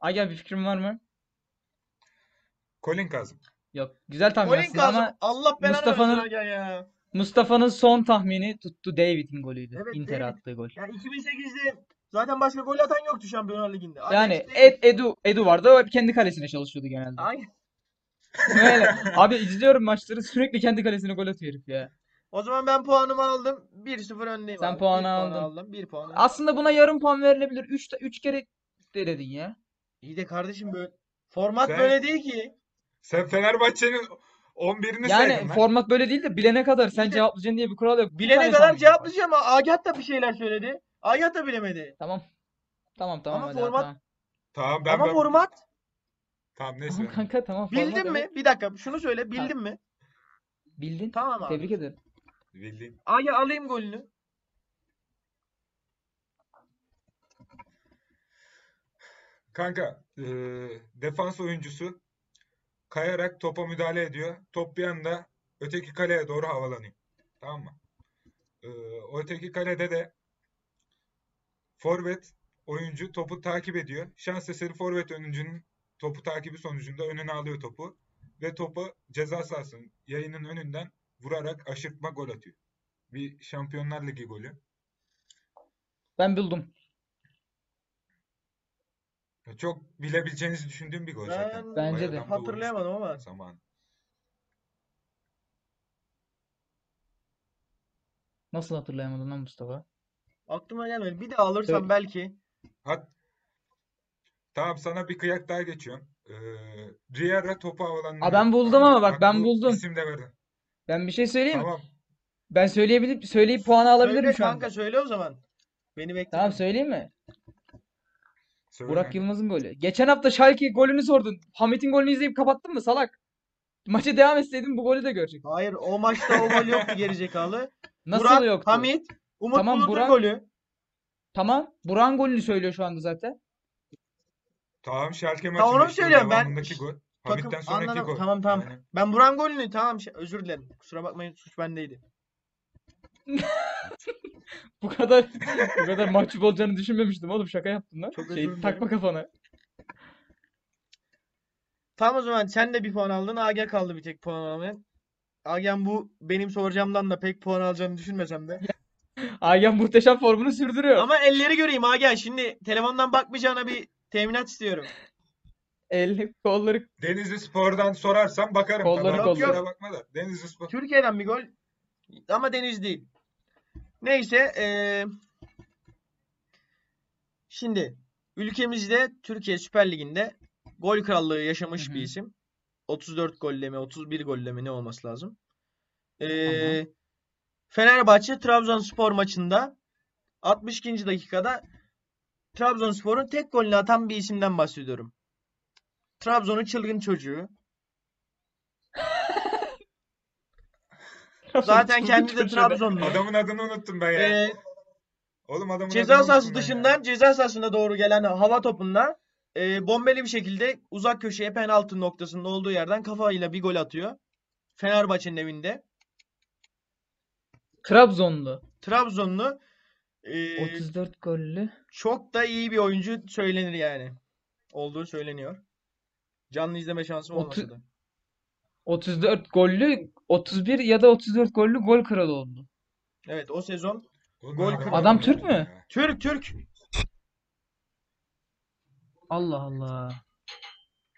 Agah bir fikrin var mı? Colin Kazım. Yok. Güzel tahmin Golün aslında ama kazandı. Allah belanı versin Mustafa'nın- Hakan ya. Mustafa'nın son tahmini tuttu. David'in golüydü. Evet, Inter'e David. attığı gol. Ya 2008'de zaten başka gol atan yoktu Şampiyonlar Ligi'nde. Alex Yani David. Ed, Edu Edu vardı. O hep kendi kalesine çalışıyordu genelde. Ay, Öyle. Abi izliyorum maçları sürekli kendi kalesine gol atıyor herif ya. O zaman ben puanımı aldım. 1-0 öndeyim Sen abi. Bir puanı puan aldın. aldım. 1 puan. aldım. Aslında buna yarım puan verilebilir. 3 3 kere de dedin ya. İyi de kardeşim böyle format Sen- böyle değil ki. Sen Fenerbahçe'nin 11'ini Yani saydın lan. format böyle değil de bilene kadar sen Bir de- cevaplayacaksın diye bir kural yok. Bir Bilene tane kadar tahmin var. cevaplayacağım ama Agat da bir şeyler söyledi. Agat da bilemedi. Tamam. Tamam tamam Ama hadi abi, format- tamam. Tamam ben Ama ben- format Tamam neyse. Tamam kanka tamam format bildin mi? evet. Bir dakika şunu söyle bildin Tamam. mi? Bildin. Tamam abi. Tebrik ederim. Bildiğin. Aga alayım golünü. Kanka eee, defans oyuncusu kayarak topa müdahale ediyor. Top bir anda öteki kaleye doğru havalanıyor. Tamam mı? Eee, o öteki kalede de forvet oyuncu topu takip ediyor. Şans eseri forvet oyuncunun topu takibi sonucunda önüne alıyor topu ve topu ceza sahasının yayının önünden vurarak aşırtma gol atıyor. Bir Şampiyonlar Ligi golü. Ben buldum. Çok bilebileceğinizi düşündüğüm bir gol zaten. Ben Bence Bayağı de. da uğraştım hatırlayamadım ama. zamanı. Nasıl hatırlayamadın lan Mustafa? Aklıma gelmedi. Bir daha alırsam Evet. belki. Hat Tamam sana bir kıyak daha geçiyorum. Ee, Riera topu havalandırıyor. Aa, ben buldum Tamam. ama bak, ben bu buldum. isim de verdim. Ben bir şey söyleyeyim mi? Tamam. Ben söyleyebilip söyleyip puanı alabilirim Söyle şu anda. kanka söyle o zaman. Beni bekle. Tamam söyleyeyim mi? Söyle. Burak Yılmaz'ın golü. Geçen hafta Schalke golünü sordun. Hamit'in golünü izleyip kapattın mı salak? Maça devam etseydin bu golü de görecek. Hayır o maçta o gol <laughs> yoktu gerizekalı. Nasıl Burak, yoktu? Hamit, Umut Tamam, Bulut'un Burak- golü. Tamam. Burak'ın golünü söylüyor şu anda zaten. Tamam Schalke Tamam, onu maçında işte söylüyorum. Ben- devamındaki gol. Takım- Hamit'ten sonraki anladım. gol. Tamam tamam. Yani Ben Buran golünü tamam şey- özür dilerim. Kusura bakmayın suç bendeydi. Bu kadar bu kadar mahcup olacağını düşünmemiştim oğlum. Şaka yaptın lan. Çok özür Şey, dilerim. takma kafana. Tamam o zaman sen de bir puan aldın. AG kaldı bir tek puan almayan. Agen bu benim soracağımdan da pek puan alacağını düşünmesem de. Aygen muhteşem formunu sürdürüyor. Ama elleri göreyim Agen. Şimdi telefondan bakmayacağına bir teminat istiyorum. El, kolları Denizli Spor'dan sorarsan bakarım. Kolları Tamam. kolları. Kusura bakma da. Denizli Spor. Türkiye'den bir gol ama Deniz değil. Neyse e, eee, şimdi ülkemizde Türkiye Süper Ligi'nde gol krallığı yaşamış Hı hı. bir isim. 34 golle mi 31 golle mi ne olması lazım. Eee, Fenerbahçe Trabzonspor maçında 62. dakikada Trabzonspor'un tek golünü atan bir isimden bahsediyorum. Trabzon'un çılgın çocuğu. <laughs> Zaten kendi de Trabzonlu. E, Adamın adını unuttum ben ya. Eee, Oğlum adamın Ee, Ceza adını sahası unuttum ben ya. dışından ceza sahasına doğru gelen hava topunda e, bombeli bir şekilde uzak köşeye penaltı noktasında olduğu yerden kafayla bir gol atıyor. Fenerbahçe'nin evinde. Trabzonlu. Trabzonlu e, 34 gollü. çok da iyi bir oyuncu söylenir yani. Olduğu söyleniyor. Canlı izleme şansım Otu- olmasa da. 34 gollü 31 ya da 34 gollü gol kralı oldu. Evet o sezon. Oğlum Gol adamın kralı. Adam adını Türk unuttum mü? ya. Türk Türk. Allah Allah.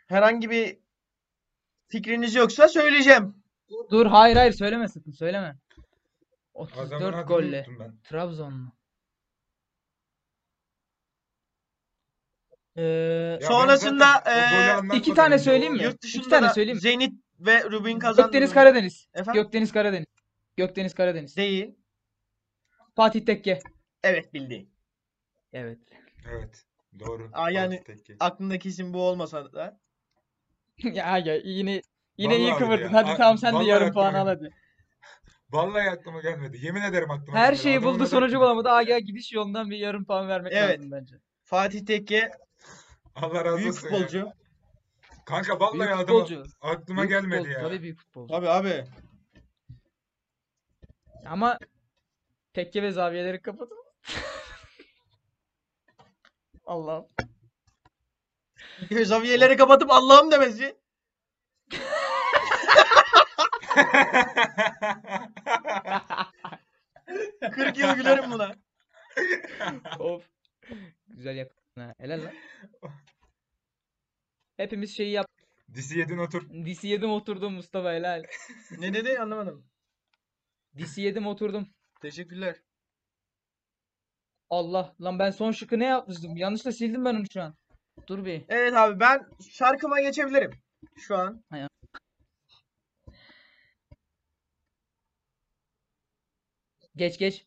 Herhangi bir fikriniz yoksa söyleyeceğim. Dur hayır hayır söyleme sakın söyleme. Adamın 34 adını golle. unuttum ben. Trabzonlu. Ee, Ya ben Sonrasında, ee, zaten o golü eee, anlatmadan iki tane önce söyleyeyim o- mi? Yurt İki dışında tane da söyleyeyim mi? Zenit ve Rubin kazandı. Gökdeniz Karadeniz. Efendim? Gökdeniz Karadeniz. Gökdeniz Karadeniz. Değil. Fatih Tekke. Evet bildi. Evet. Evet. Doğru. Aa, yani- Fatih Tekke. Aklındaki isim bu olmasa da. <laughs> Ya, ya yine yine iyi Vallahi öyle kıvırdın. ya. Hadi Ay- tamam sen de vallahi yarım aklıma puan al gelmedi. hadi. Vallahi aklıma gelmedi. Yemin ederim aklıma Her gelmedi. şeyi Adamın buldu adı sonucu aklıma bulamadı. Aa gelmedi. gel gidiş yolundan bir yarım puan vermek Evet. lazım bence. Fatih Tekke Allah razı büyük olsun ya. futbolcu. Kanka vallahi Büyük adamı futbolcu. aklıma Büyük gelmedi futbolcu. ya. Tabii büyük futbolcu. Tabii <laughs> abi. Ama tekke ve zaviyeleri kapatın. <laughs> Allah'ım. Zaviyelere kapatıp Allah'ım demesi. <laughs> Vallahi 40 yıl gülerim buna. Of. Güzel yakaladın ha. Helal lan. Hepimiz şeyi yap. Disi yedin otur. Disi yedim oturdum Mustafa helal. Ne dedi anlamadım. Disi yedim oturdum. Teşekkürler. Allah lan ben son şıkı ne yapmıştım? Yanlışla sildim ben onu şu an. Dur bir. Evet abi ben şarkıma geçebilirim. Şu an. Geç geç.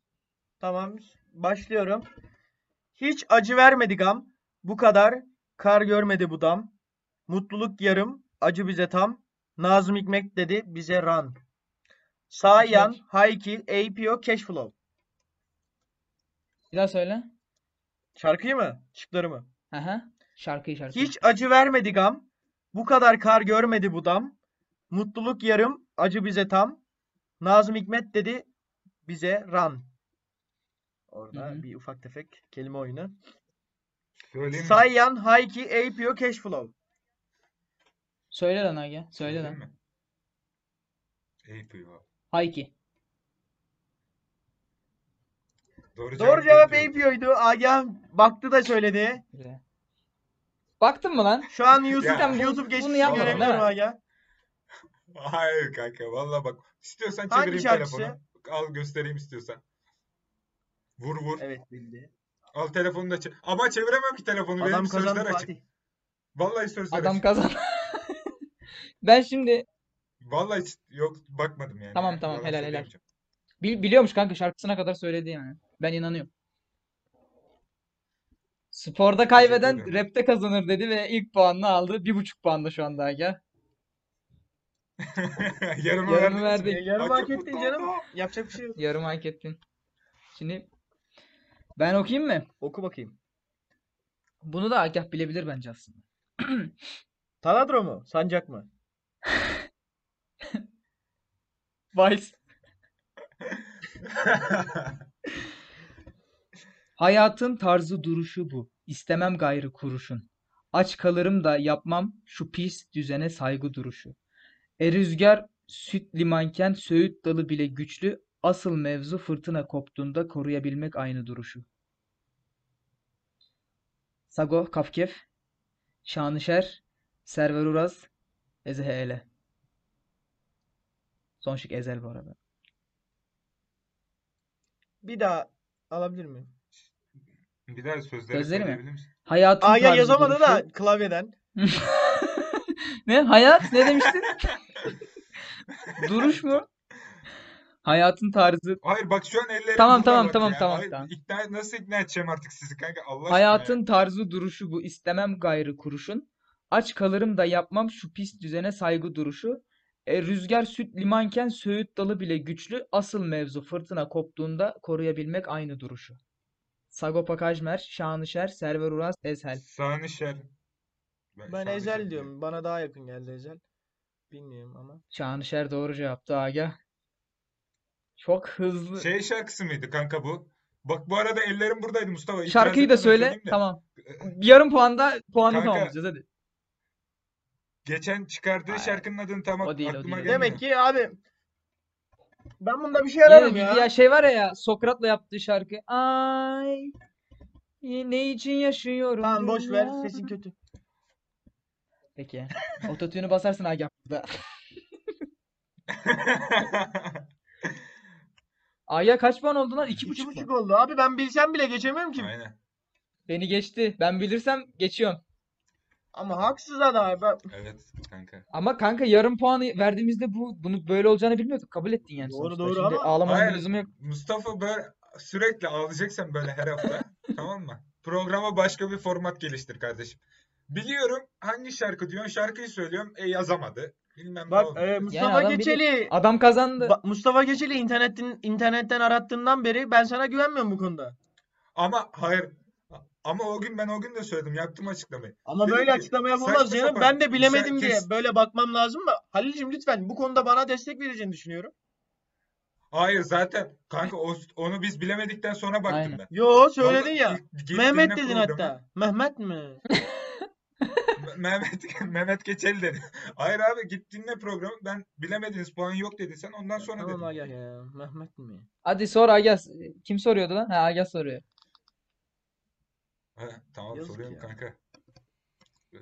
Tamam. Başlıyorum. Hiç acı vermedi gam. Bu kadar. Kar görmedi bu dam. Mutluluk yarım. Acı bize tam. Nazım Hikmet dedi bize ran. Sayan, Güzel. Haykil, APO, Cashflow. Bir daha söyle. Şarkıyı mı? Şıkları mı? Hı hı. Şarkıyı şarkıyı. Hiç acı vermedi gam. Bu kadar kar görmedi bu dam. Mutluluk yarım, acı bize tam. Nazım Hikmet dedi bize ran. Orada Hı hı. bir ufak tefek kelime oyunu. Söyleyeyim mi? Sayyan, Hayki, APO, Cashflow. Söyle lan Aga. Söyle Söyleyeyim lan. mi? Eyüp eyvah. Hayki. Doğru Doğru cevap cevap Eyüp eyvah. APO'ydu. Agah baktı da söyledi. Güzel. Baktın mı lan? Şu an YouTube, Ya. Bunu YouTube geçmişini yapmadın değil mi? görebiliyorum Agah. Hayır kanka vallahi bak. İstiyorsan Hangi çevireyim şarkısı? telefonu. Al göstereyim istiyorsan. Vur vur. Evet bildi. Al telefonu da çevir. Ama çeviremem ki telefonu. Adam Benim kazandı sözler açık. Fatih. Vallahi sözler Adam açık. kazan. <laughs> Ben şimdi Vallahi hiç- yok bakmadım yani. Tamam, ya. tamam, Yalan helal, helal. söyleyemeyeceğim. <laughs> Bil- biliyormuş kanka şarkısına kadar söyledi yani. Ben inanıyorum. Sporda kaybeden ederim. rapte kazanır dedi ve ilk puanını aldı. Bir buçuk puan da şu anda Aga. Yarımı Yarımı verdiniz mi? verdik. Ya, yarım hak Ay, çok Ee, ettin mutlu canım. oldum. Yapacak bir şey yok. Yarım hak ettin. Şimdi ben okuyayım mı? Oku bakayım. Bunu da Agah bilebilir bence aslında. Taladro mu? Sancak mı? Vice. Hayatın tarzı duruşu bu. İstemem gayrı kuruşun. Aç kalırım da yapmam şu pis düzene saygı duruşu. E rüzgar süt limanken söğüt dalı bile güçlü. Asıl mevzu fırtına koptuğunda koruyabilmek aynı duruşu. Sagoh Kafkev, Şanışer, Server Uraz, Ezehele. Son şık Ezel bu arada. Bir daha alabilir miyim? <laughs> Bir daha sözleri Sözleri mi? söyleyebilir misin? Hayatın Aa ya tarzı yazamadı duruşu. da klavyeden. Ne? Hayat? Ne demiştin? Duruş mu? Hayatın tarzı. Hayır bak şu an ellerim Tamam, burada tamam, bak tamam, ya. tamam, Ay, tamam. ikna- nasıl ikna edeceğim artık sizi kanka Allah aşkına ya. Hayatın tarzı duruşu bu. İstemem gayrı kuruşun. Aç kalırım da yapmam şu pis düzene saygı duruşu. E, rüzgar süt limanken söğüt dalı bile güçlü. Asıl mevzu fırtına koptuğunda koruyabilmek aynı duruşu. Sagopa Kajmer, Şanışer, Server Uras, Ezhel. Sanişer. Ben Sanişer Ezel diyorum. diyorum. Bana daha yakın geldi Ezel. Bilmiyorum ama. Şanışer doğru cevaptı Aga. Çok hızlı. Şey şarkısı mıydı kanka bu? Bak bu arada ellerim buradaydı Mustafa. İtiraz Şarkıyı da etmeden söyle. söyleyeyim de. Tamam. Yarım puanda puanı Kanka, tamamlayacağız hadi. Geçen çıkardığı Hayır. şarkının adını tam O değil, o değil, o aklıma değil. gelmiyor. Demek ki abi ben bunda bir şey Yine ararım bildi ya. ya şey var ya ya Sokrat'la yaptığı şarkı. Ay ne için yaşıyorum Tamam boş ver. dünya? Sesin kötü. Peki. Ototüne basarsın Agah burada. Aya kaç puan oldu lan? 2,5 İki puan. buçuk oldu abi ben bilsem bile geçemiyorum ki. <laughs> Aynen. Beni geçti. Ben bilirsem geçiyorum. Ama haksız adam. Ben... Evet kanka. Ama kanka yarım puanı verdiğimizde bu bunu böyle olacağını bilmiyorduk. Kabul ettin yani Doğru, sonuçta. doğru Şimdi ama- ağlamanın bir Hayır. lüzumu yok. Mustafa böyle sürekli ağlayacaksan böyle <laughs> her hafta tamam mı? Programa başka bir format geliştir kardeşim. Biliyorum hangi şarkı diyorsun şarkıyı söylüyorum e yazamadı. Bilmem ne Bak oldu. e, Mustafa adam biri- Geçeli Adam kazandı. Ba- Mustafa Geçeli internetin internetten arattığından beri ben sana güvenmiyorum bu konuda. Ama hayır. Ama o gün ben o gün de söyledim. Yaptım açıklamayı. Ama Dedim böyle ki, açıklama yapılmaz saçma canım. sapan, Ben de bilemedim sen diye kes- böyle bakmam lazım mı? Halil'cim lütfen bu konuda bana destek vereceğini düşünüyorum. Hayır zaten kanka o- onu biz bilemedikten sonra baktım Aynen. ben. Yo söyledin Vallahi ya. ilk girdiğinde Mehmet dedin programa- hatta. Mehmet mi? <laughs> Me- Mehmet Mehmet Keçeli dedi. Hayır abi gittiğinde programı ben bilemediniz puan yok dedi sen ondan sonra Tamam dedim. Agah ya. Mehmet mi? Hadi sor Agas. Kim soruyordu lan? Ha Agas soruyor. He, tamam Yazık soruyorum ya. kanka. Ee,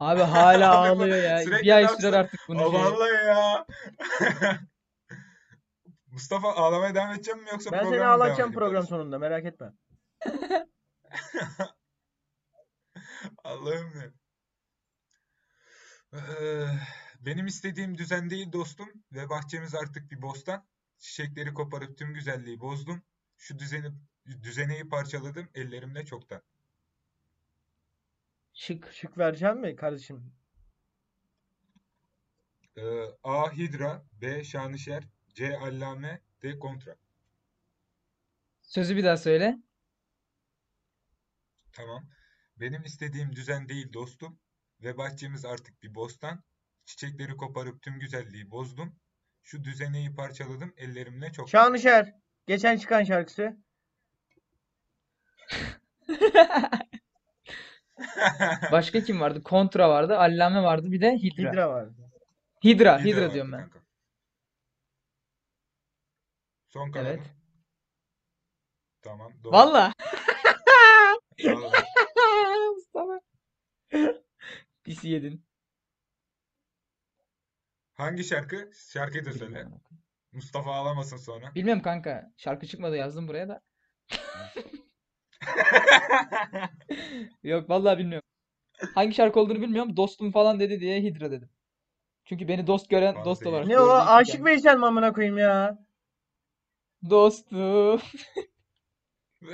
Abi hala Abi bu- ağlıyor ya. sürekli Bir ay laf- sürer artık şey. bunun aa, şeyi. şey? vallahi ya. <laughs> Mustafa ağlamaya devam edeceğim mi yoksa Ben seni programa mı devam ağlatacağım edeyim program kardeşim? sonunda merak etme. <laughs> Allah'ım ya. Ee, Benim istediğim düzen değil dostum ve bahçemiz artık bir bostan. Çiçekleri koparıp tüm güzelliği bozdum. Şu düzeni düzeneyi parçaladım ellerimle çoktan. Şık. Şık vereceğim mi kardeşim? Ee, A. Hidra B. Şanışer C. Allame D. Kontra. Sözü bir daha söyle. Tamam. Benim istediğim düzen değil dostum ve bahçemiz artık bir bostan. Çiçekleri koparıp tüm güzelliği bozdum. Şu düzeneyi parçaladım ellerimle <laughs> çoktan. Şanışer. Geçen çıkan şarkısı. Başka kim vardı? Kontra vardı. Allame vardı. Bir de Hidra. Hidra <laughs> var. Hidra. İyi Hidra devam diyorum et ben. kanka. Son kararın. Evet. Tamam. Doğru. Valla. Vallahi. <laughs> Mustafa. Pis yedin. Hangi şarkı? Şarkıyı da söyle. Bilmiyorum. Mustafa ağlamasın sonra. Bilmiyorum kanka. Şarkı çıkmadı yazdım buraya da. Yok vallahi bilmiyorum. Hangi şarkı olduğunu bilmiyorum. Dostum falan dedi diye Hidra dedim. Çünkü beni dost gören Bana dost değil. olarak Ne o? gördüğü için Aşık yani. Veysel mi amına koyayım ya? Dostum. <laughs>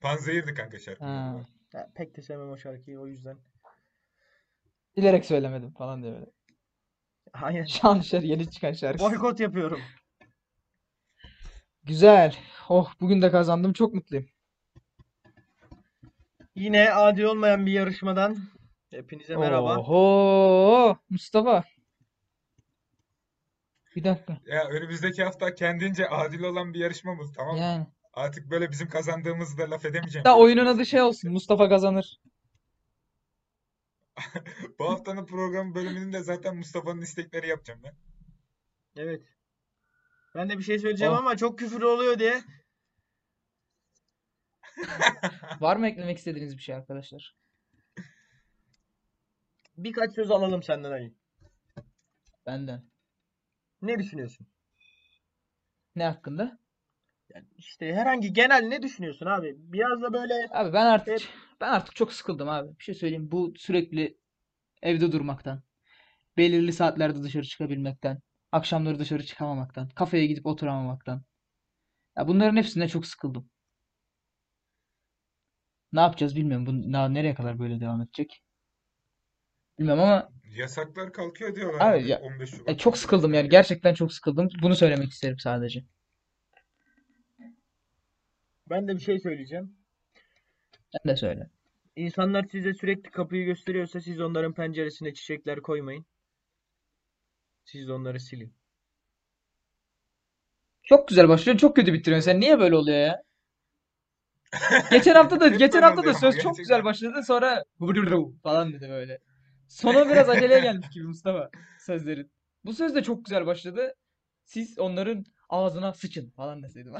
Panzehir'di kanka şarkının adı. Ha. Ya, pek de sevmem o şarkıyı o yüzden. Bilerek söylemedim falan diye böyle. <laughs> Hayır. Şanışer yeni çıkan şarkısı. Boykot yapıyorum. Güzel. Oh bugün de kazandım. Çok mutluyum. Yine adi olmayan bir yarışmadan hepinize Oh. merhaba. Oho Mustafa. Bir dakika. Ya önümüzdeki hafta kendince adil olan bir yarışmamız tamam mı? Yani. Artık böyle bizim kazandığımızı da laf edemeyeceğim. Hatta oyunun adı şey olsun. Mustafa kazanır. Bu haftanın program bölümünü de zaten Mustafa'nın istekleri yapacağım ben. Evet. Ben de bir şey söyleyeceğim Oh. ama çok küfür oluyor diye. Var mı eklemek istediğiniz bir şey arkadaşlar? Birkaç söz alalım senden Ali. Benden. Ne düşünüyorsun? Ne hakkında? Yani işte herhangi genel ne düşünüyorsun abi? Biraz da böyle Abi ben artık Evet. ben artık çok sıkıldım abi. Bir şey söyleyeyim. Bu sürekli evde durmaktan, belirli saatlerde dışarı çıkabilmekten, akşamları dışarı çıkamamaktan, kafeye gidip oturamamaktan. Ya bunların hepsine çok sıkıldım. Ne yapacağız bilmiyorum. Bu na- nereye kadar böyle devam edecek? Bilmiyorum ama Yasaklar kalkıyor diyorlar Abi abi ya- 15 e, Şubat'tan çok sıkıldım yani. itibaren. Gerçekten çok sıkıldım. Bunu söylemek isterim sadece. ben de bir şey söyleyeceğim. Sen de söyle. İnsanlar size sürekli kapıyı gösteriyorsa siz onların penceresine çiçekler koymayın. Siz de onları silin. Çok güzel başlıyor, çok kötü bitiriyorsun. Sen niye böyle oluyor ya? Geçen hafta da <laughs> Hep geçen böyle hafta da oluyor ama söz çok güzel gerçekten. başladı sonra "Hurru" falan dedi böyle. Sonu biraz aceleye gelmiş gibi Mustafa sözlerin. Bu söz de çok güzel başladı. Siz onların ağzına sıçın falan <laughs> deseydim.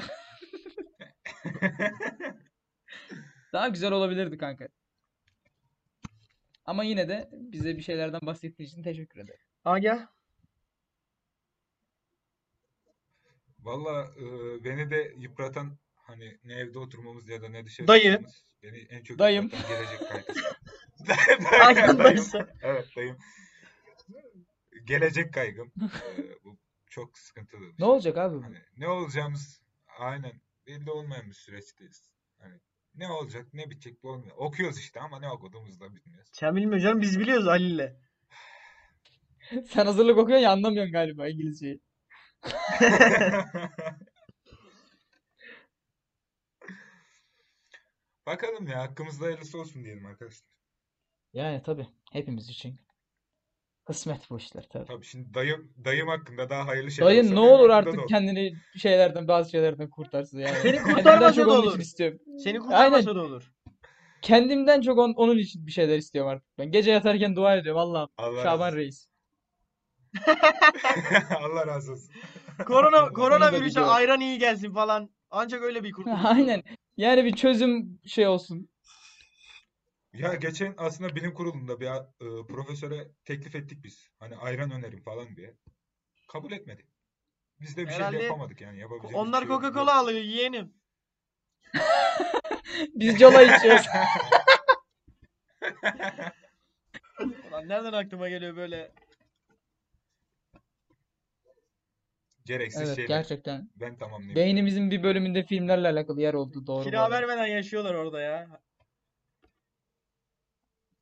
Daha güzel olabilirdi kanka. Ama yine de bize bir şeylerden <laughs> bahsettiğin için teşekkür ederim. Agah Valla e, beni de yıpratan hani ne evde oturmamız ya da ne dışarı Dayı. çıkmamız beni en çok Dayım. yıpratan gelecek kaygısı. Aynen Dayım. dayısı. Evet dayım. Gelecek kaygım. Ee, bu çok sıkıntılı bir Ne şey. olacak abi bu? Hani ne olacağımız aynen belli olmayan bir süreçteyiz. Hani ne olacak ne bitecek bu olmuyor. Okuyoruz işte ama ne okuduğumuzu da bilmiyoruz. Sen bilmiyorsun canım biz biliyoruz Halil'le. <laughs> Sen hazırlık okuyorsun ya anlamıyorsun galiba İngilizceyi. <laughs> Bakalım ya hakkımızda hayırlısı olsun diyelim arkadaşlar. Yani tabii hepimiz için. Kısmet bu işler tabii. Tabii şimdi dayım dayım hakkında daha hayırlı şeyler Dayı olsa ne benim olur hakkımda da artık olur. kendini şeylerden bazı şeylerden kurtarsın yani. <laughs> Seni Kendimden kurtarmasa çok da onun olur. için istiyorum. Seni kurtarmasa da olur. Kendimden çok on- onun için bir şeyler istiyorum artık ben. Gece yatarken dua ediyorum Allah'ım. Allah razı Şaban olsun. Reis. <laughs> Allah razı olsun. <laughs> Korona Onu da koronavirüse biliyorum. ayran iyi gelsin falan. Ancak öyle bir kurtuluş. <laughs> Aynen. Yani bir çözüm şey olsun. Ya geçen aslında bilim kurulunda bir a- e, profesöre teklif ettik biz. Hani ayran önerin falan diye. Kabul etmedi. Biz de bir şey de Herhalde yapamadık yani yapabileceğimiz bir Onlar şey yok. Coca-Cola alıyor yeğenim. Biz cola içiyoruz. Ulan nereden aklıma geliyor böyle? Gereksiz Evet şeyler. gerçekten. Ben tamamlayayım. Beynimizin bir bölümünde filmlerle alakalı yer oldu doğru bu Kira arada. vermeden yaşıyorlar orada ya.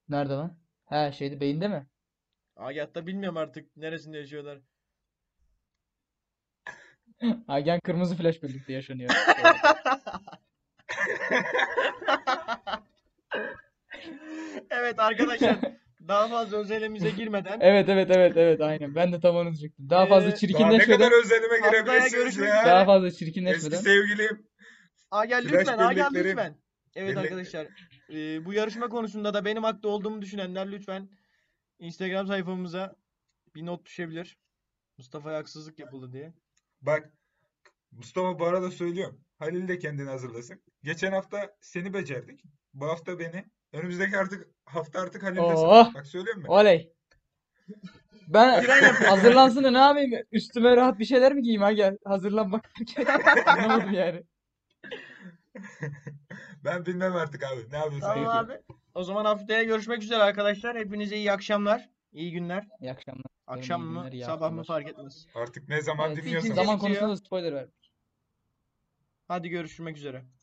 Nerede lan? He şeydi beyinde mi? Agatta bilmiyorum artık neresinde yaşıyorlar. Agen Kırmızı Flash birlikte yaşanıyor. <laughs> Evet arkadaşlar daha fazla özelimize girmeden Evet evet evet evet aynen. Ben de tam onu diyecektim. Daha fazla Ee, Daha ne çirkinleşmeden, kadar özelime Haftaya girebilirsiniz görüşmek ya. üzere. daha fazla Eski çirkinleşmeden. sevgilim. Agel Flash lütfen Agel bellekleri- lütfen. Evet bellek- arkadaşlar e, bu yarışma konusunda da benim haklı olduğumu düşünenler lütfen Instagram sayfamıza bir not düşebilir. Mustafa'ya haksızlık yapıldı diye. Bak Mustafa bu arada söylüyorum. Halil de kendini hazırlasın. Geçen hafta seni becerdik. Bu hafta beni. Önümüzdeki artık hafta artık Halil'de sıra. Oh! Bak söylüyorum mi? Oley. Ben Tren yapıyor. hazırlansın da ne yapayım? Üstüme rahat bir şeyler mi giyeyim? Ha gel. Hazırlan bak. <laughs> Anlamadım yani. <laughs> Ben bilmem artık abi. Ne yapıyorsun? Tamam yapıyorum. abi. O zaman haftaya görüşmek üzere arkadaşlar. Hepinize iyi akşamlar, iyi günler. İyi akşamlar. Akşam iyi mı, günler, iyi sabah mı haftalar. fark etmez. Artık ne zaman Evet, dinliyorsan. zaman Bitiyor. konusunda da spoiler ver. Hadi görüşmek üzere.